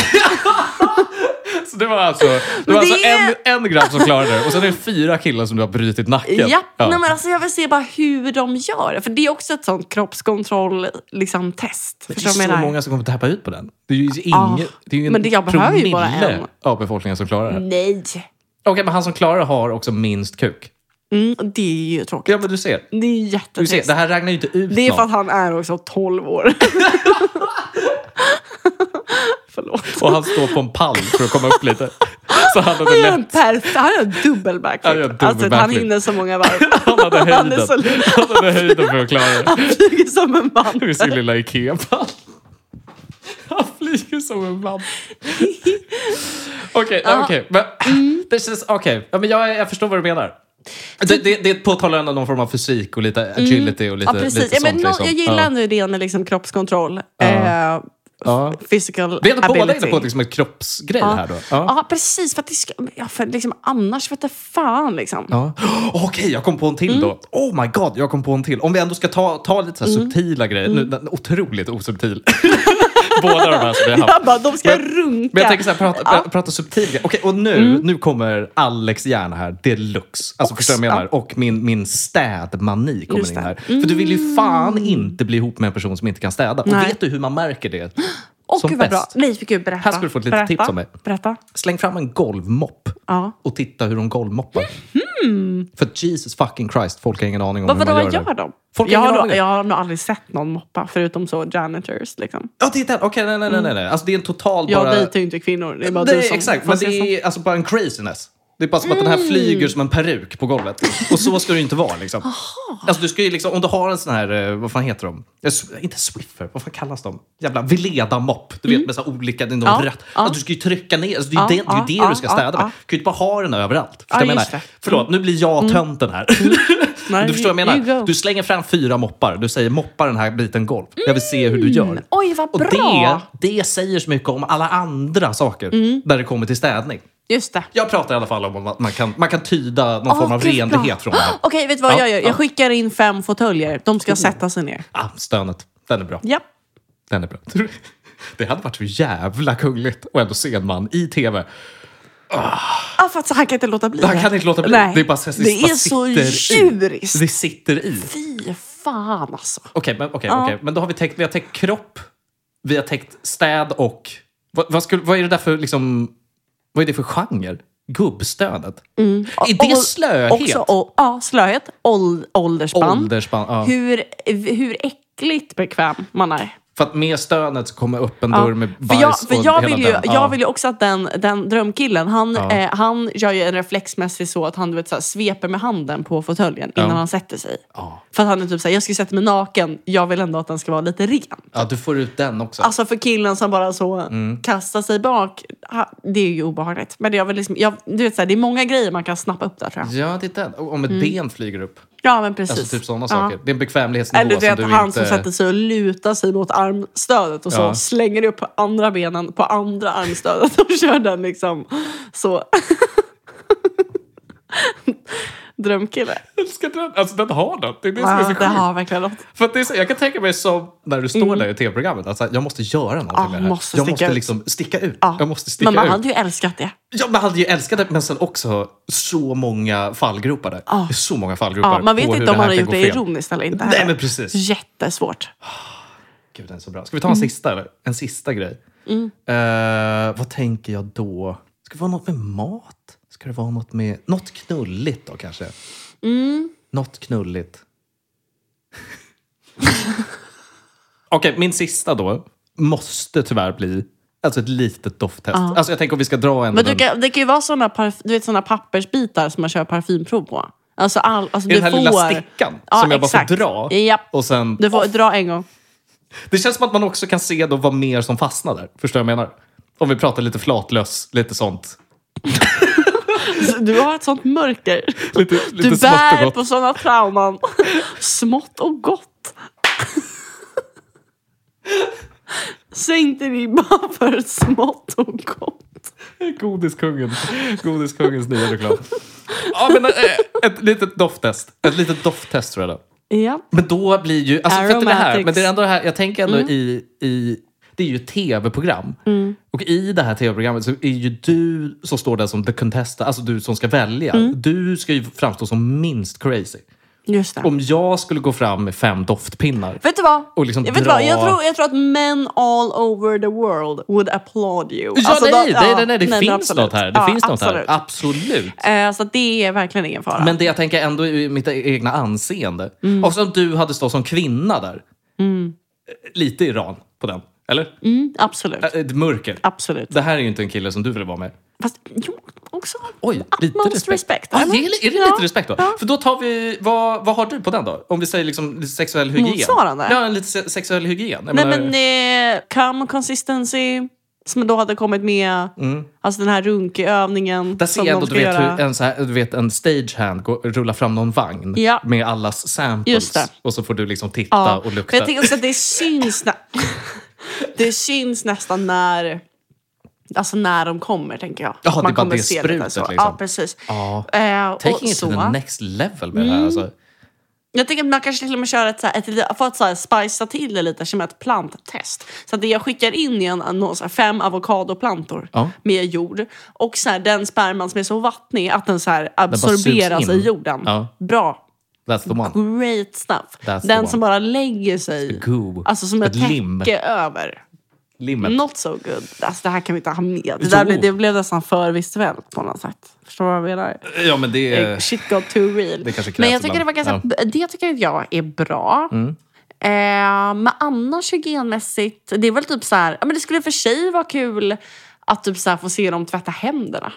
Speaker 1: Så det var alltså, det var
Speaker 2: det
Speaker 1: alltså
Speaker 2: är-
Speaker 1: en, en grabb som klarade det och sen är det fyra killar som du har brutit nacken.
Speaker 2: Japp, Nej, men alltså jag vill se bara hur de gör det. För det är också ett sånt kroppskontroll liksom, test.
Speaker 1: Det är
Speaker 2: Förstår du vad
Speaker 1: så
Speaker 2: jag menar?
Speaker 1: många som kommer att tappa ut på den. Det är ju ingen,
Speaker 2: Ah,
Speaker 1: det är ju en
Speaker 2: men det- jag behöver ju
Speaker 1: promille
Speaker 2: bara en. Mm.
Speaker 1: av befolkningen som klarar det. Okej,
Speaker 2: Nej,
Speaker 1: men han som klarar det har också minst kuk.
Speaker 2: mm, det är ju tråkigt.
Speaker 1: Ja, men du ser.
Speaker 2: Det är ju
Speaker 1: Du ser,
Speaker 2: jättetrist.
Speaker 1: det här ragnar ju inte ut
Speaker 2: Det är
Speaker 1: någon.
Speaker 2: för att han är också 12 år. Förlåt.
Speaker 1: Och han står på en pall för att komma upp lite. Så han hade
Speaker 2: Han gör en,
Speaker 1: lätt.
Speaker 2: perf- han gör en dubbel
Speaker 1: Han gör en
Speaker 2: backflip.
Speaker 1: dubbel
Speaker 2: Alltså, han
Speaker 1: backflip.
Speaker 2: hinner så många varv.
Speaker 1: Han hade
Speaker 2: Han är
Speaker 1: höjden.
Speaker 2: så liten.
Speaker 1: Han hade höjden för att klara det.
Speaker 2: Han flyger som en man.
Speaker 1: Med sin lilla Ikea-pall. Han flyger som en man. Okej, okay, okej.
Speaker 2: Mm.
Speaker 1: men Det känns... Okej, ja, men jag, jag förstår vad du menar. Det, det, det påtalar ändå någon form av fysik och lite agility och lite,
Speaker 2: Typ- Mm. Ja, precis.
Speaker 1: lite
Speaker 2: Ja, men
Speaker 1: sånt.
Speaker 2: nå-
Speaker 1: liksom.
Speaker 2: Jag
Speaker 1: ja.
Speaker 2: gillar ändå idén med liksom kroppskontroll. Eh,
Speaker 1: Ja.
Speaker 2: physical
Speaker 1: Vi är ändå båda
Speaker 2: ability.
Speaker 1: inne på liksom en kroppsgrej här då.
Speaker 2: Ja.
Speaker 1: Ja.
Speaker 2: precis. För att det ska, ja, för liksom, annars vet jag fan. Liksom.
Speaker 1: Ja. Okej, jag kom på en till
Speaker 2: Mm.
Speaker 1: då. Oh my god, jag kom på en till. Om vi ändå ska ta, ta lite så här subtila grejer. Nu,
Speaker 2: Mm.
Speaker 1: den- otroligt osubtil. Båda de här som vi har haft.
Speaker 2: Jag bara, de ska
Speaker 1: Men-
Speaker 2: runka.
Speaker 1: Men jag tänker så här, prata, pra- prata subtilt. Okej, och nu,
Speaker 2: Mm.
Speaker 1: nu kommer Alex hjärna här deluxe. Alltså, förstår du vad jag menar? Och min, min städmani kommer
Speaker 2: Just
Speaker 1: in
Speaker 2: det. Mm.
Speaker 1: här. För du vill ju fan inte bli ihop med en person som inte kan städa. Och
Speaker 2: Nej.
Speaker 1: vet du hur man märker det?
Speaker 2: Åh,
Speaker 1: som
Speaker 2: gud, vad bra.
Speaker 1: bäst.
Speaker 2: Nej, gud, berätta.
Speaker 1: Här ska du få ett litet
Speaker 2: berätta.
Speaker 1: tips av mig.
Speaker 2: Berätta.
Speaker 1: Släng fram en golvmopp
Speaker 2: Ja. Hmm.
Speaker 1: och titta hur de golvmoppar. För Jesus fucking Christ, folk har ingen aning om
Speaker 2: Vad
Speaker 1: hur
Speaker 2: vadå,
Speaker 1: man gör
Speaker 2: vad
Speaker 1: det.
Speaker 2: gör de?
Speaker 1: Folk har
Speaker 2: jag,
Speaker 1: ingen
Speaker 2: har nog,
Speaker 1: aning.
Speaker 2: jag har nog aldrig sett någon moppa förutom så janitors. Liksom.
Speaker 1: Ja, titta! Okej, nej, nej, nej, nej,
Speaker 2: Mm.
Speaker 1: nej. Alltså det är en total
Speaker 2: Jag
Speaker 1: bara...
Speaker 2: dejtar ju inte kvinnor. Det är bara du
Speaker 1: Nej,
Speaker 2: som Mm.
Speaker 1: exakt.
Speaker 2: får
Speaker 1: Men
Speaker 2: se sånt.
Speaker 1: det är alltså bara en craziness. Det är bara som att den här flyger som en peruk på golvet. Och så ska det ju inte vara. Liksom. Alltså, du ska ju liksom, om du har en sån här, eh, vad fan heter de? Eh, s- Inte Swiffer, vad fan kallas de? Jävla Veleda-mopp. Du vet med så här olika, det är någon
Speaker 2: Mm. Ja,
Speaker 1: rätt.
Speaker 2: ja.
Speaker 1: Alltså, du ska ju trycka ner, alltså, det är ju
Speaker 2: Ja,
Speaker 1: det, det, är ju
Speaker 2: ja,
Speaker 1: det du ska
Speaker 2: ja,
Speaker 1: städa med.
Speaker 2: ja.
Speaker 1: Du kan ju inte bara ha den överallt. Förstår
Speaker 2: Ja,
Speaker 1: jag menar?
Speaker 2: just det. Mm.
Speaker 1: Förlåt, nu blir jag tönten här.
Speaker 2: Nej,
Speaker 1: du förstår vad jag
Speaker 2: you
Speaker 1: menar?
Speaker 2: go.
Speaker 1: Du slänger fram fyra moppar. Du säger moppa den här biten golv. Jag vill se hur
Speaker 2: Mm.
Speaker 1: du gör.
Speaker 2: Oj, vad
Speaker 1: Och
Speaker 2: bra! Mm.
Speaker 1: det, det säger så mycket om alla andra saker där det kommer till städning.
Speaker 2: Just det.
Speaker 1: Jag pratar i alla fall om att man kan, man kan tyda någon form
Speaker 2: Åh,
Speaker 1: av
Speaker 2: gud, bra.
Speaker 1: renlighet från det här.
Speaker 2: Okej, vet du vad
Speaker 1: Ja,
Speaker 2: jag gör?
Speaker 1: ja.
Speaker 2: Jag skickar in fem fåtöljer. De ska sätta sig ner.
Speaker 1: Ah, stönet. Den är bra.
Speaker 2: Ja.
Speaker 1: Den är bra. Tror du- Det hade varit så jävla kungligt att ändå se en man i tv.
Speaker 2: Ah, för att så här kan jag inte låta bli.
Speaker 1: Han kan inte låta bli.
Speaker 2: Nej.
Speaker 1: Det är bara så,
Speaker 2: Det
Speaker 1: bara
Speaker 2: är så
Speaker 1: sitter i.
Speaker 2: djuriskt.
Speaker 1: Det sitter i.
Speaker 2: Fy fan alltså.
Speaker 1: Okej, men, okej, okej. men då har vi täckt, vi har täckt kropp, vi har täckt städ och... Vad, vad, skulle, vad är det där för liksom, Vad är det för genre? Gubbstönet? Är
Speaker 2: Mm. Och-
Speaker 1: det
Speaker 2: och-
Speaker 1: slöhet?
Speaker 2: Också, och, ja, slöhet. Ål, åldersspann.
Speaker 1: Åldersspann? Ja.
Speaker 2: Hur, hur äckligt bekväm man är.
Speaker 1: För att med stönet så kommer öppen dörr med
Speaker 2: För
Speaker 1: bajs
Speaker 2: jag, för
Speaker 1: och
Speaker 2: jag,
Speaker 1: hela
Speaker 2: vill ju,
Speaker 1: den. Ja.
Speaker 2: jag vill ju också att den, den drömkillen, han,
Speaker 1: Ja.
Speaker 2: eh, han gör ju en reflexmässig så att han du vet, så här, sveper med handen på fåtöljen innan
Speaker 1: Ja.
Speaker 2: han sätter sig.
Speaker 1: Ja.
Speaker 2: För att han är typ såhär, jag ska sätta mig naken, jag vill ändå att den ska vara lite ren.
Speaker 1: ja, du får ut den också.
Speaker 2: Alltså för killen som bara så
Speaker 1: Mm.
Speaker 2: kastar sig bak, ha- det är ju obehagligt. Men det, jag vill liksom, jag, du vet, så här, det är många grejer man kan snappa upp där tror jag.
Speaker 1: Ja, det är den. Och Om ett ben flyger upp.
Speaker 2: Ja men precis.
Speaker 1: Alltså typ sådana
Speaker 2: Mm. Ja.
Speaker 1: saker. Det är en bekvämlighetsnivå
Speaker 2: Eller du
Speaker 1: som
Speaker 2: vet,
Speaker 1: du
Speaker 2: han
Speaker 1: inte...
Speaker 2: som sätter sig och lutar sig mot armstödet och så
Speaker 1: Ja.
Speaker 2: slänger upp andra benen på andra armstödet och kör den liksom så. Drömkille.
Speaker 1: Jag älskar den. Alltså den har något. Det är det
Speaker 2: Ja, det har verkligen något.
Speaker 1: För att det är så, jag kan tänka mig som när du står där i tv-programmet. Alltså, jag måste göra någonting
Speaker 2: Mm. Ja,
Speaker 1: med det här.
Speaker 2: måste
Speaker 1: jag
Speaker 2: sticka
Speaker 1: måste
Speaker 2: ut.
Speaker 1: liksom sticka ut.
Speaker 2: Ja.
Speaker 1: Jag måste sticka
Speaker 2: Men man
Speaker 1: ut.
Speaker 2: hade ju älskat det.
Speaker 1: Ja, man hade ju älskat det, men sen också så många fallgropar där. Det är så många fallgropar
Speaker 2: Ja, man vet
Speaker 1: på hur
Speaker 2: inte om
Speaker 1: här
Speaker 2: han har
Speaker 1: kan gå
Speaker 2: gjort det
Speaker 1: fel.
Speaker 2: ironiskt eller inte.
Speaker 1: Nej,
Speaker 2: heller.
Speaker 1: men precis.
Speaker 2: Jättesvårt.
Speaker 1: Gud, den är så bra. Ska vi ta en
Speaker 2: Mm.
Speaker 1: sista? Eller? En sista grej. Eh, vad tänker jag då? Ska det vara något med mat? Ska det vara något med... Något knulligt då kanske?
Speaker 2: Mm.
Speaker 1: Något knulligt. Okej, min sista då måste tyvärr bli alltså ett litet dofttest. Alltså jag tänker om vi ska dra en...
Speaker 2: Men du kan, det kan ju vara såna, parf- du vet, såna pappersbitar som man kör parfymprov på. Alltså, all, alltså
Speaker 1: I
Speaker 2: du
Speaker 1: den här
Speaker 2: får...
Speaker 1: lilla stickan
Speaker 2: Ja,
Speaker 1: som jag
Speaker 2: exakt.
Speaker 1: bara får dra.
Speaker 2: Japp.
Speaker 1: Och sen,
Speaker 2: Du får dra en gång.
Speaker 1: Det känns som att man också kan se då vad mer som fastnar där. Förstår du vad jag menar? Om vi pratar lite flatlöss, lite sånt.
Speaker 2: Du har ett sånt mörker.
Speaker 1: Lite,
Speaker 2: Du
Speaker 1: lite smått och
Speaker 2: bär
Speaker 1: gott.
Speaker 2: på såna trauman. Smått och gott. Sänk dig ribban för smått och gott.
Speaker 1: Godiskungen. Godiskungens nya reklam. Ja, men eh, ett litet dofttest. Ett litet dofttest tror jag det.
Speaker 2: Ja.
Speaker 1: Men då blir ju... Alltså, för att det är det här,
Speaker 2: Aromatics. Mm.
Speaker 1: men det är ändå det här, jag tänker ändå i, i... Det är ju ett tv-program. Och i det här tv-programmet så är ju du som står där som the contestant, alltså du som ska välja.
Speaker 2: Mm.
Speaker 1: Du ska ju framstå som minst crazy.
Speaker 2: Just det.
Speaker 1: Om jag skulle gå fram med fem doftpinnar
Speaker 2: Vet du vad?
Speaker 1: Och liksom
Speaker 2: jag, vet du vad?
Speaker 1: dra-
Speaker 2: Jag, tror, jag tror att men all over the world would applaud you.
Speaker 1: Ja,
Speaker 2: Alltså,
Speaker 1: nej,
Speaker 2: då-
Speaker 1: nej,
Speaker 2: ja,
Speaker 1: nej, nej, det
Speaker 2: men
Speaker 1: finns
Speaker 2: absolut.
Speaker 1: något här. Det
Speaker 2: Ja,
Speaker 1: finns något här.
Speaker 2: absolut.
Speaker 1: Absolut.
Speaker 2: Eh, så att det är verkligen ingen fara.
Speaker 1: Men det jag tänker ändå är mitt e-, egna anseende.
Speaker 2: Mm.
Speaker 1: Och som du hade stått som kvinna där. Eh, Lite Iran på den, eller?
Speaker 2: Mm, absolut.
Speaker 1: Äh, ett mörker.
Speaker 2: Absolut.
Speaker 1: Det här är ju inte en kille som du ville vara med.
Speaker 2: Fast jo, också
Speaker 1: Oj, lite
Speaker 2: utmost
Speaker 1: respekt.
Speaker 2: respect.
Speaker 1: Ja,
Speaker 2: eller?
Speaker 1: det är, li- är det
Speaker 2: Ja.
Speaker 1: lite respekt då? För då tar vi, vad, vad har du på den då? Om vi säger liksom lite sexuell hygien.
Speaker 2: Motsvarande?
Speaker 1: Ja, lite se- sexuell hygien. Jag
Speaker 2: Nej
Speaker 1: menar-
Speaker 2: men eh, come consistency som då hade kommit med. Alltså den här runkeövningen.
Speaker 1: Mm. Där ser
Speaker 2: som
Speaker 1: jag
Speaker 2: de
Speaker 1: ändå du
Speaker 2: ska
Speaker 1: vet,
Speaker 2: göra.
Speaker 1: hur en, så här, du vet, en stagehand går, rullar fram någon vagn
Speaker 2: Ja.
Speaker 1: med allas samples.
Speaker 2: Just det.
Speaker 1: Och så får du liksom titta och
Speaker 2: För
Speaker 1: lukta.
Speaker 2: jag tänker också att det syns, nä- det syns nästan när, alltså när de kommer, tänker jag.
Speaker 1: Ja,
Speaker 2: Att
Speaker 1: det är bara det
Speaker 2: se
Speaker 1: sprutet,
Speaker 2: så.
Speaker 1: liksom.
Speaker 2: Ja, precis.
Speaker 1: Ja.
Speaker 2: Eh, och
Speaker 1: Taking it to the
Speaker 2: så.
Speaker 1: next level med det här. Alltså.
Speaker 2: Jag tänker att man kanske till och med kör ett, så här, ett, litet- för att så här, spicea till det lite, som ett planttest. Så att det jag skickar in i en annons är fem avokadoplantor
Speaker 1: Ja.
Speaker 2: med jord. Och så här, den sperman som är så vattnig att den så här,
Speaker 1: bara sugs
Speaker 2: absorberas
Speaker 1: in.
Speaker 2: i jorden.
Speaker 1: Ja.
Speaker 2: Bra.
Speaker 1: That's the
Speaker 2: Mm.
Speaker 1: one.
Speaker 2: Great stuff.
Speaker 1: That's the
Speaker 2: den
Speaker 1: one.
Speaker 2: som bara lägger sig.
Speaker 1: Goo.
Speaker 2: Alltså som ett,
Speaker 1: Ett lim.
Speaker 2: täcke över.
Speaker 1: Limmet.
Speaker 2: Not so good. Alltså det här kan vi inte ha med. Det, där
Speaker 1: Jo.
Speaker 2: blev, det blev nästan för visuellt på något sätt. Förstår du vad jag menar?
Speaker 1: Ja, men det
Speaker 2: Eh,
Speaker 1: är...
Speaker 2: Shit got too real.
Speaker 1: Det kanske krävs
Speaker 2: Men jag tycker det,
Speaker 1: ibland. Mm.
Speaker 2: var ganska, det tycker jag är bra. Eh, men annars hygienmässigt, det är väl typ så här, ja, men det skulle för sig vara kul att typ så här få se dem tvätta händerna.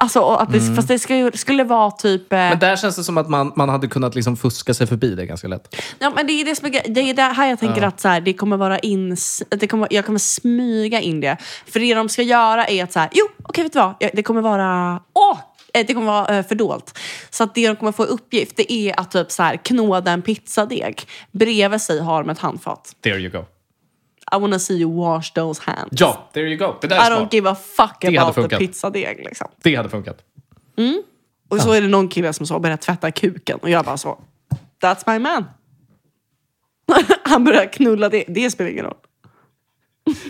Speaker 2: Alltså, och att det,
Speaker 1: Mm.
Speaker 2: fast det skulle, skulle vara typ... eh,
Speaker 1: Men där känns det som att man, man hade kunnat liksom fuska sig förbi det ganska lätt.
Speaker 2: Ja, men det är det som är, gre- det är det här jag tänker att så här, det kommer vara in, att det kommer, jag kommer smyga in det. För det de ska göra är att så här, jo, okej vet du vad, Ja, det kommer vara, åh, eh, det kommer vara eh, fördolt. Så att det de kommer få i uppgift det är att typ så här, knåda en pizzadeg. Bredvid sig har de ett handfat.
Speaker 1: There you go.
Speaker 2: I wanna see you wash those hands.
Speaker 1: Ja, there you go. Det där
Speaker 2: I
Speaker 1: är
Speaker 2: don't
Speaker 1: smart.
Speaker 2: give a fuck
Speaker 1: hade
Speaker 2: about the
Speaker 1: funkat.
Speaker 2: pizzadeg. Liksom.
Speaker 1: Det hade funkat.
Speaker 2: Och så är det någon kille som så börjar tvätta kuken och jag bara så, that's my man. Han börjar knulla det, det spelar ingen roll.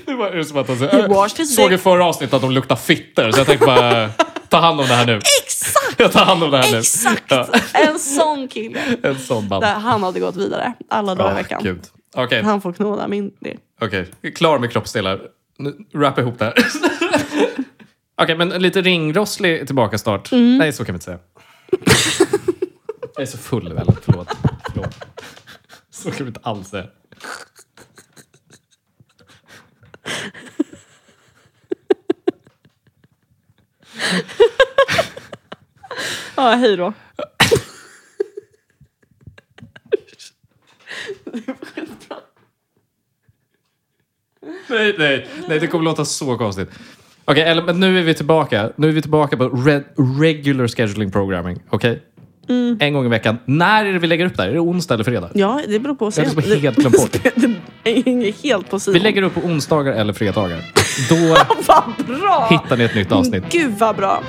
Speaker 1: Det var det som att han
Speaker 2: He washed
Speaker 1: så,
Speaker 2: his
Speaker 1: såg i
Speaker 2: dick.
Speaker 1: förra avsnittet att de luktar fitter så jag tänkte bara ta hand om det här nu.
Speaker 2: Exakt!
Speaker 1: Jag tar hand om det här nu.
Speaker 2: Exakt!
Speaker 1: Ja,
Speaker 2: En sån kille.
Speaker 1: en sån band.
Speaker 2: Där han hade gått vidare alla dagar i
Speaker 1: Ah,
Speaker 2: veckan.
Speaker 1: gud. Okej,
Speaker 2: Han får knåda min del.
Speaker 1: Okej, klar med kroppsdelar. Nu, wrappa ihop det här. Okej, men lite ringrosslig tillbaka start. Nej, så kan vi inte säga. Jag är så full väl, förlåt. förlåt. Så kan vi inte alls säga.
Speaker 2: Ja, hej då. Det var skitbra.
Speaker 1: Nej, nej, nej, det kommer låta så konstigt. Okej, eller men nu är vi tillbaka. Nu är vi tillbaka på red, regular scheduling programming. Okej? En gång i veckan. När är det vi lägger upp det här? Är det onsdag eller fredag?
Speaker 2: ja, det beror på.
Speaker 1: Jag är liksom helt glömt bort.
Speaker 2: Det hänger helt på sidan.
Speaker 1: Vi lägger upp på onsdagar eller fredagar. Då
Speaker 2: Vad bra!
Speaker 1: hittar ni ett nytt avsnitt.
Speaker 2: Gud vad bra!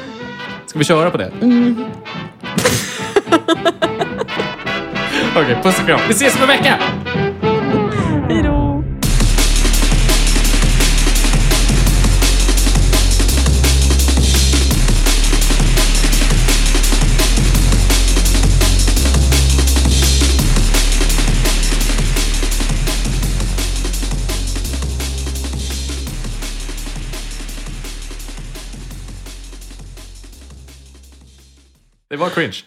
Speaker 1: Ska vi köra på det? Okej, puss och kram. Vi ses om en vecka!
Speaker 2: Hej då!
Speaker 1: Det var cringe.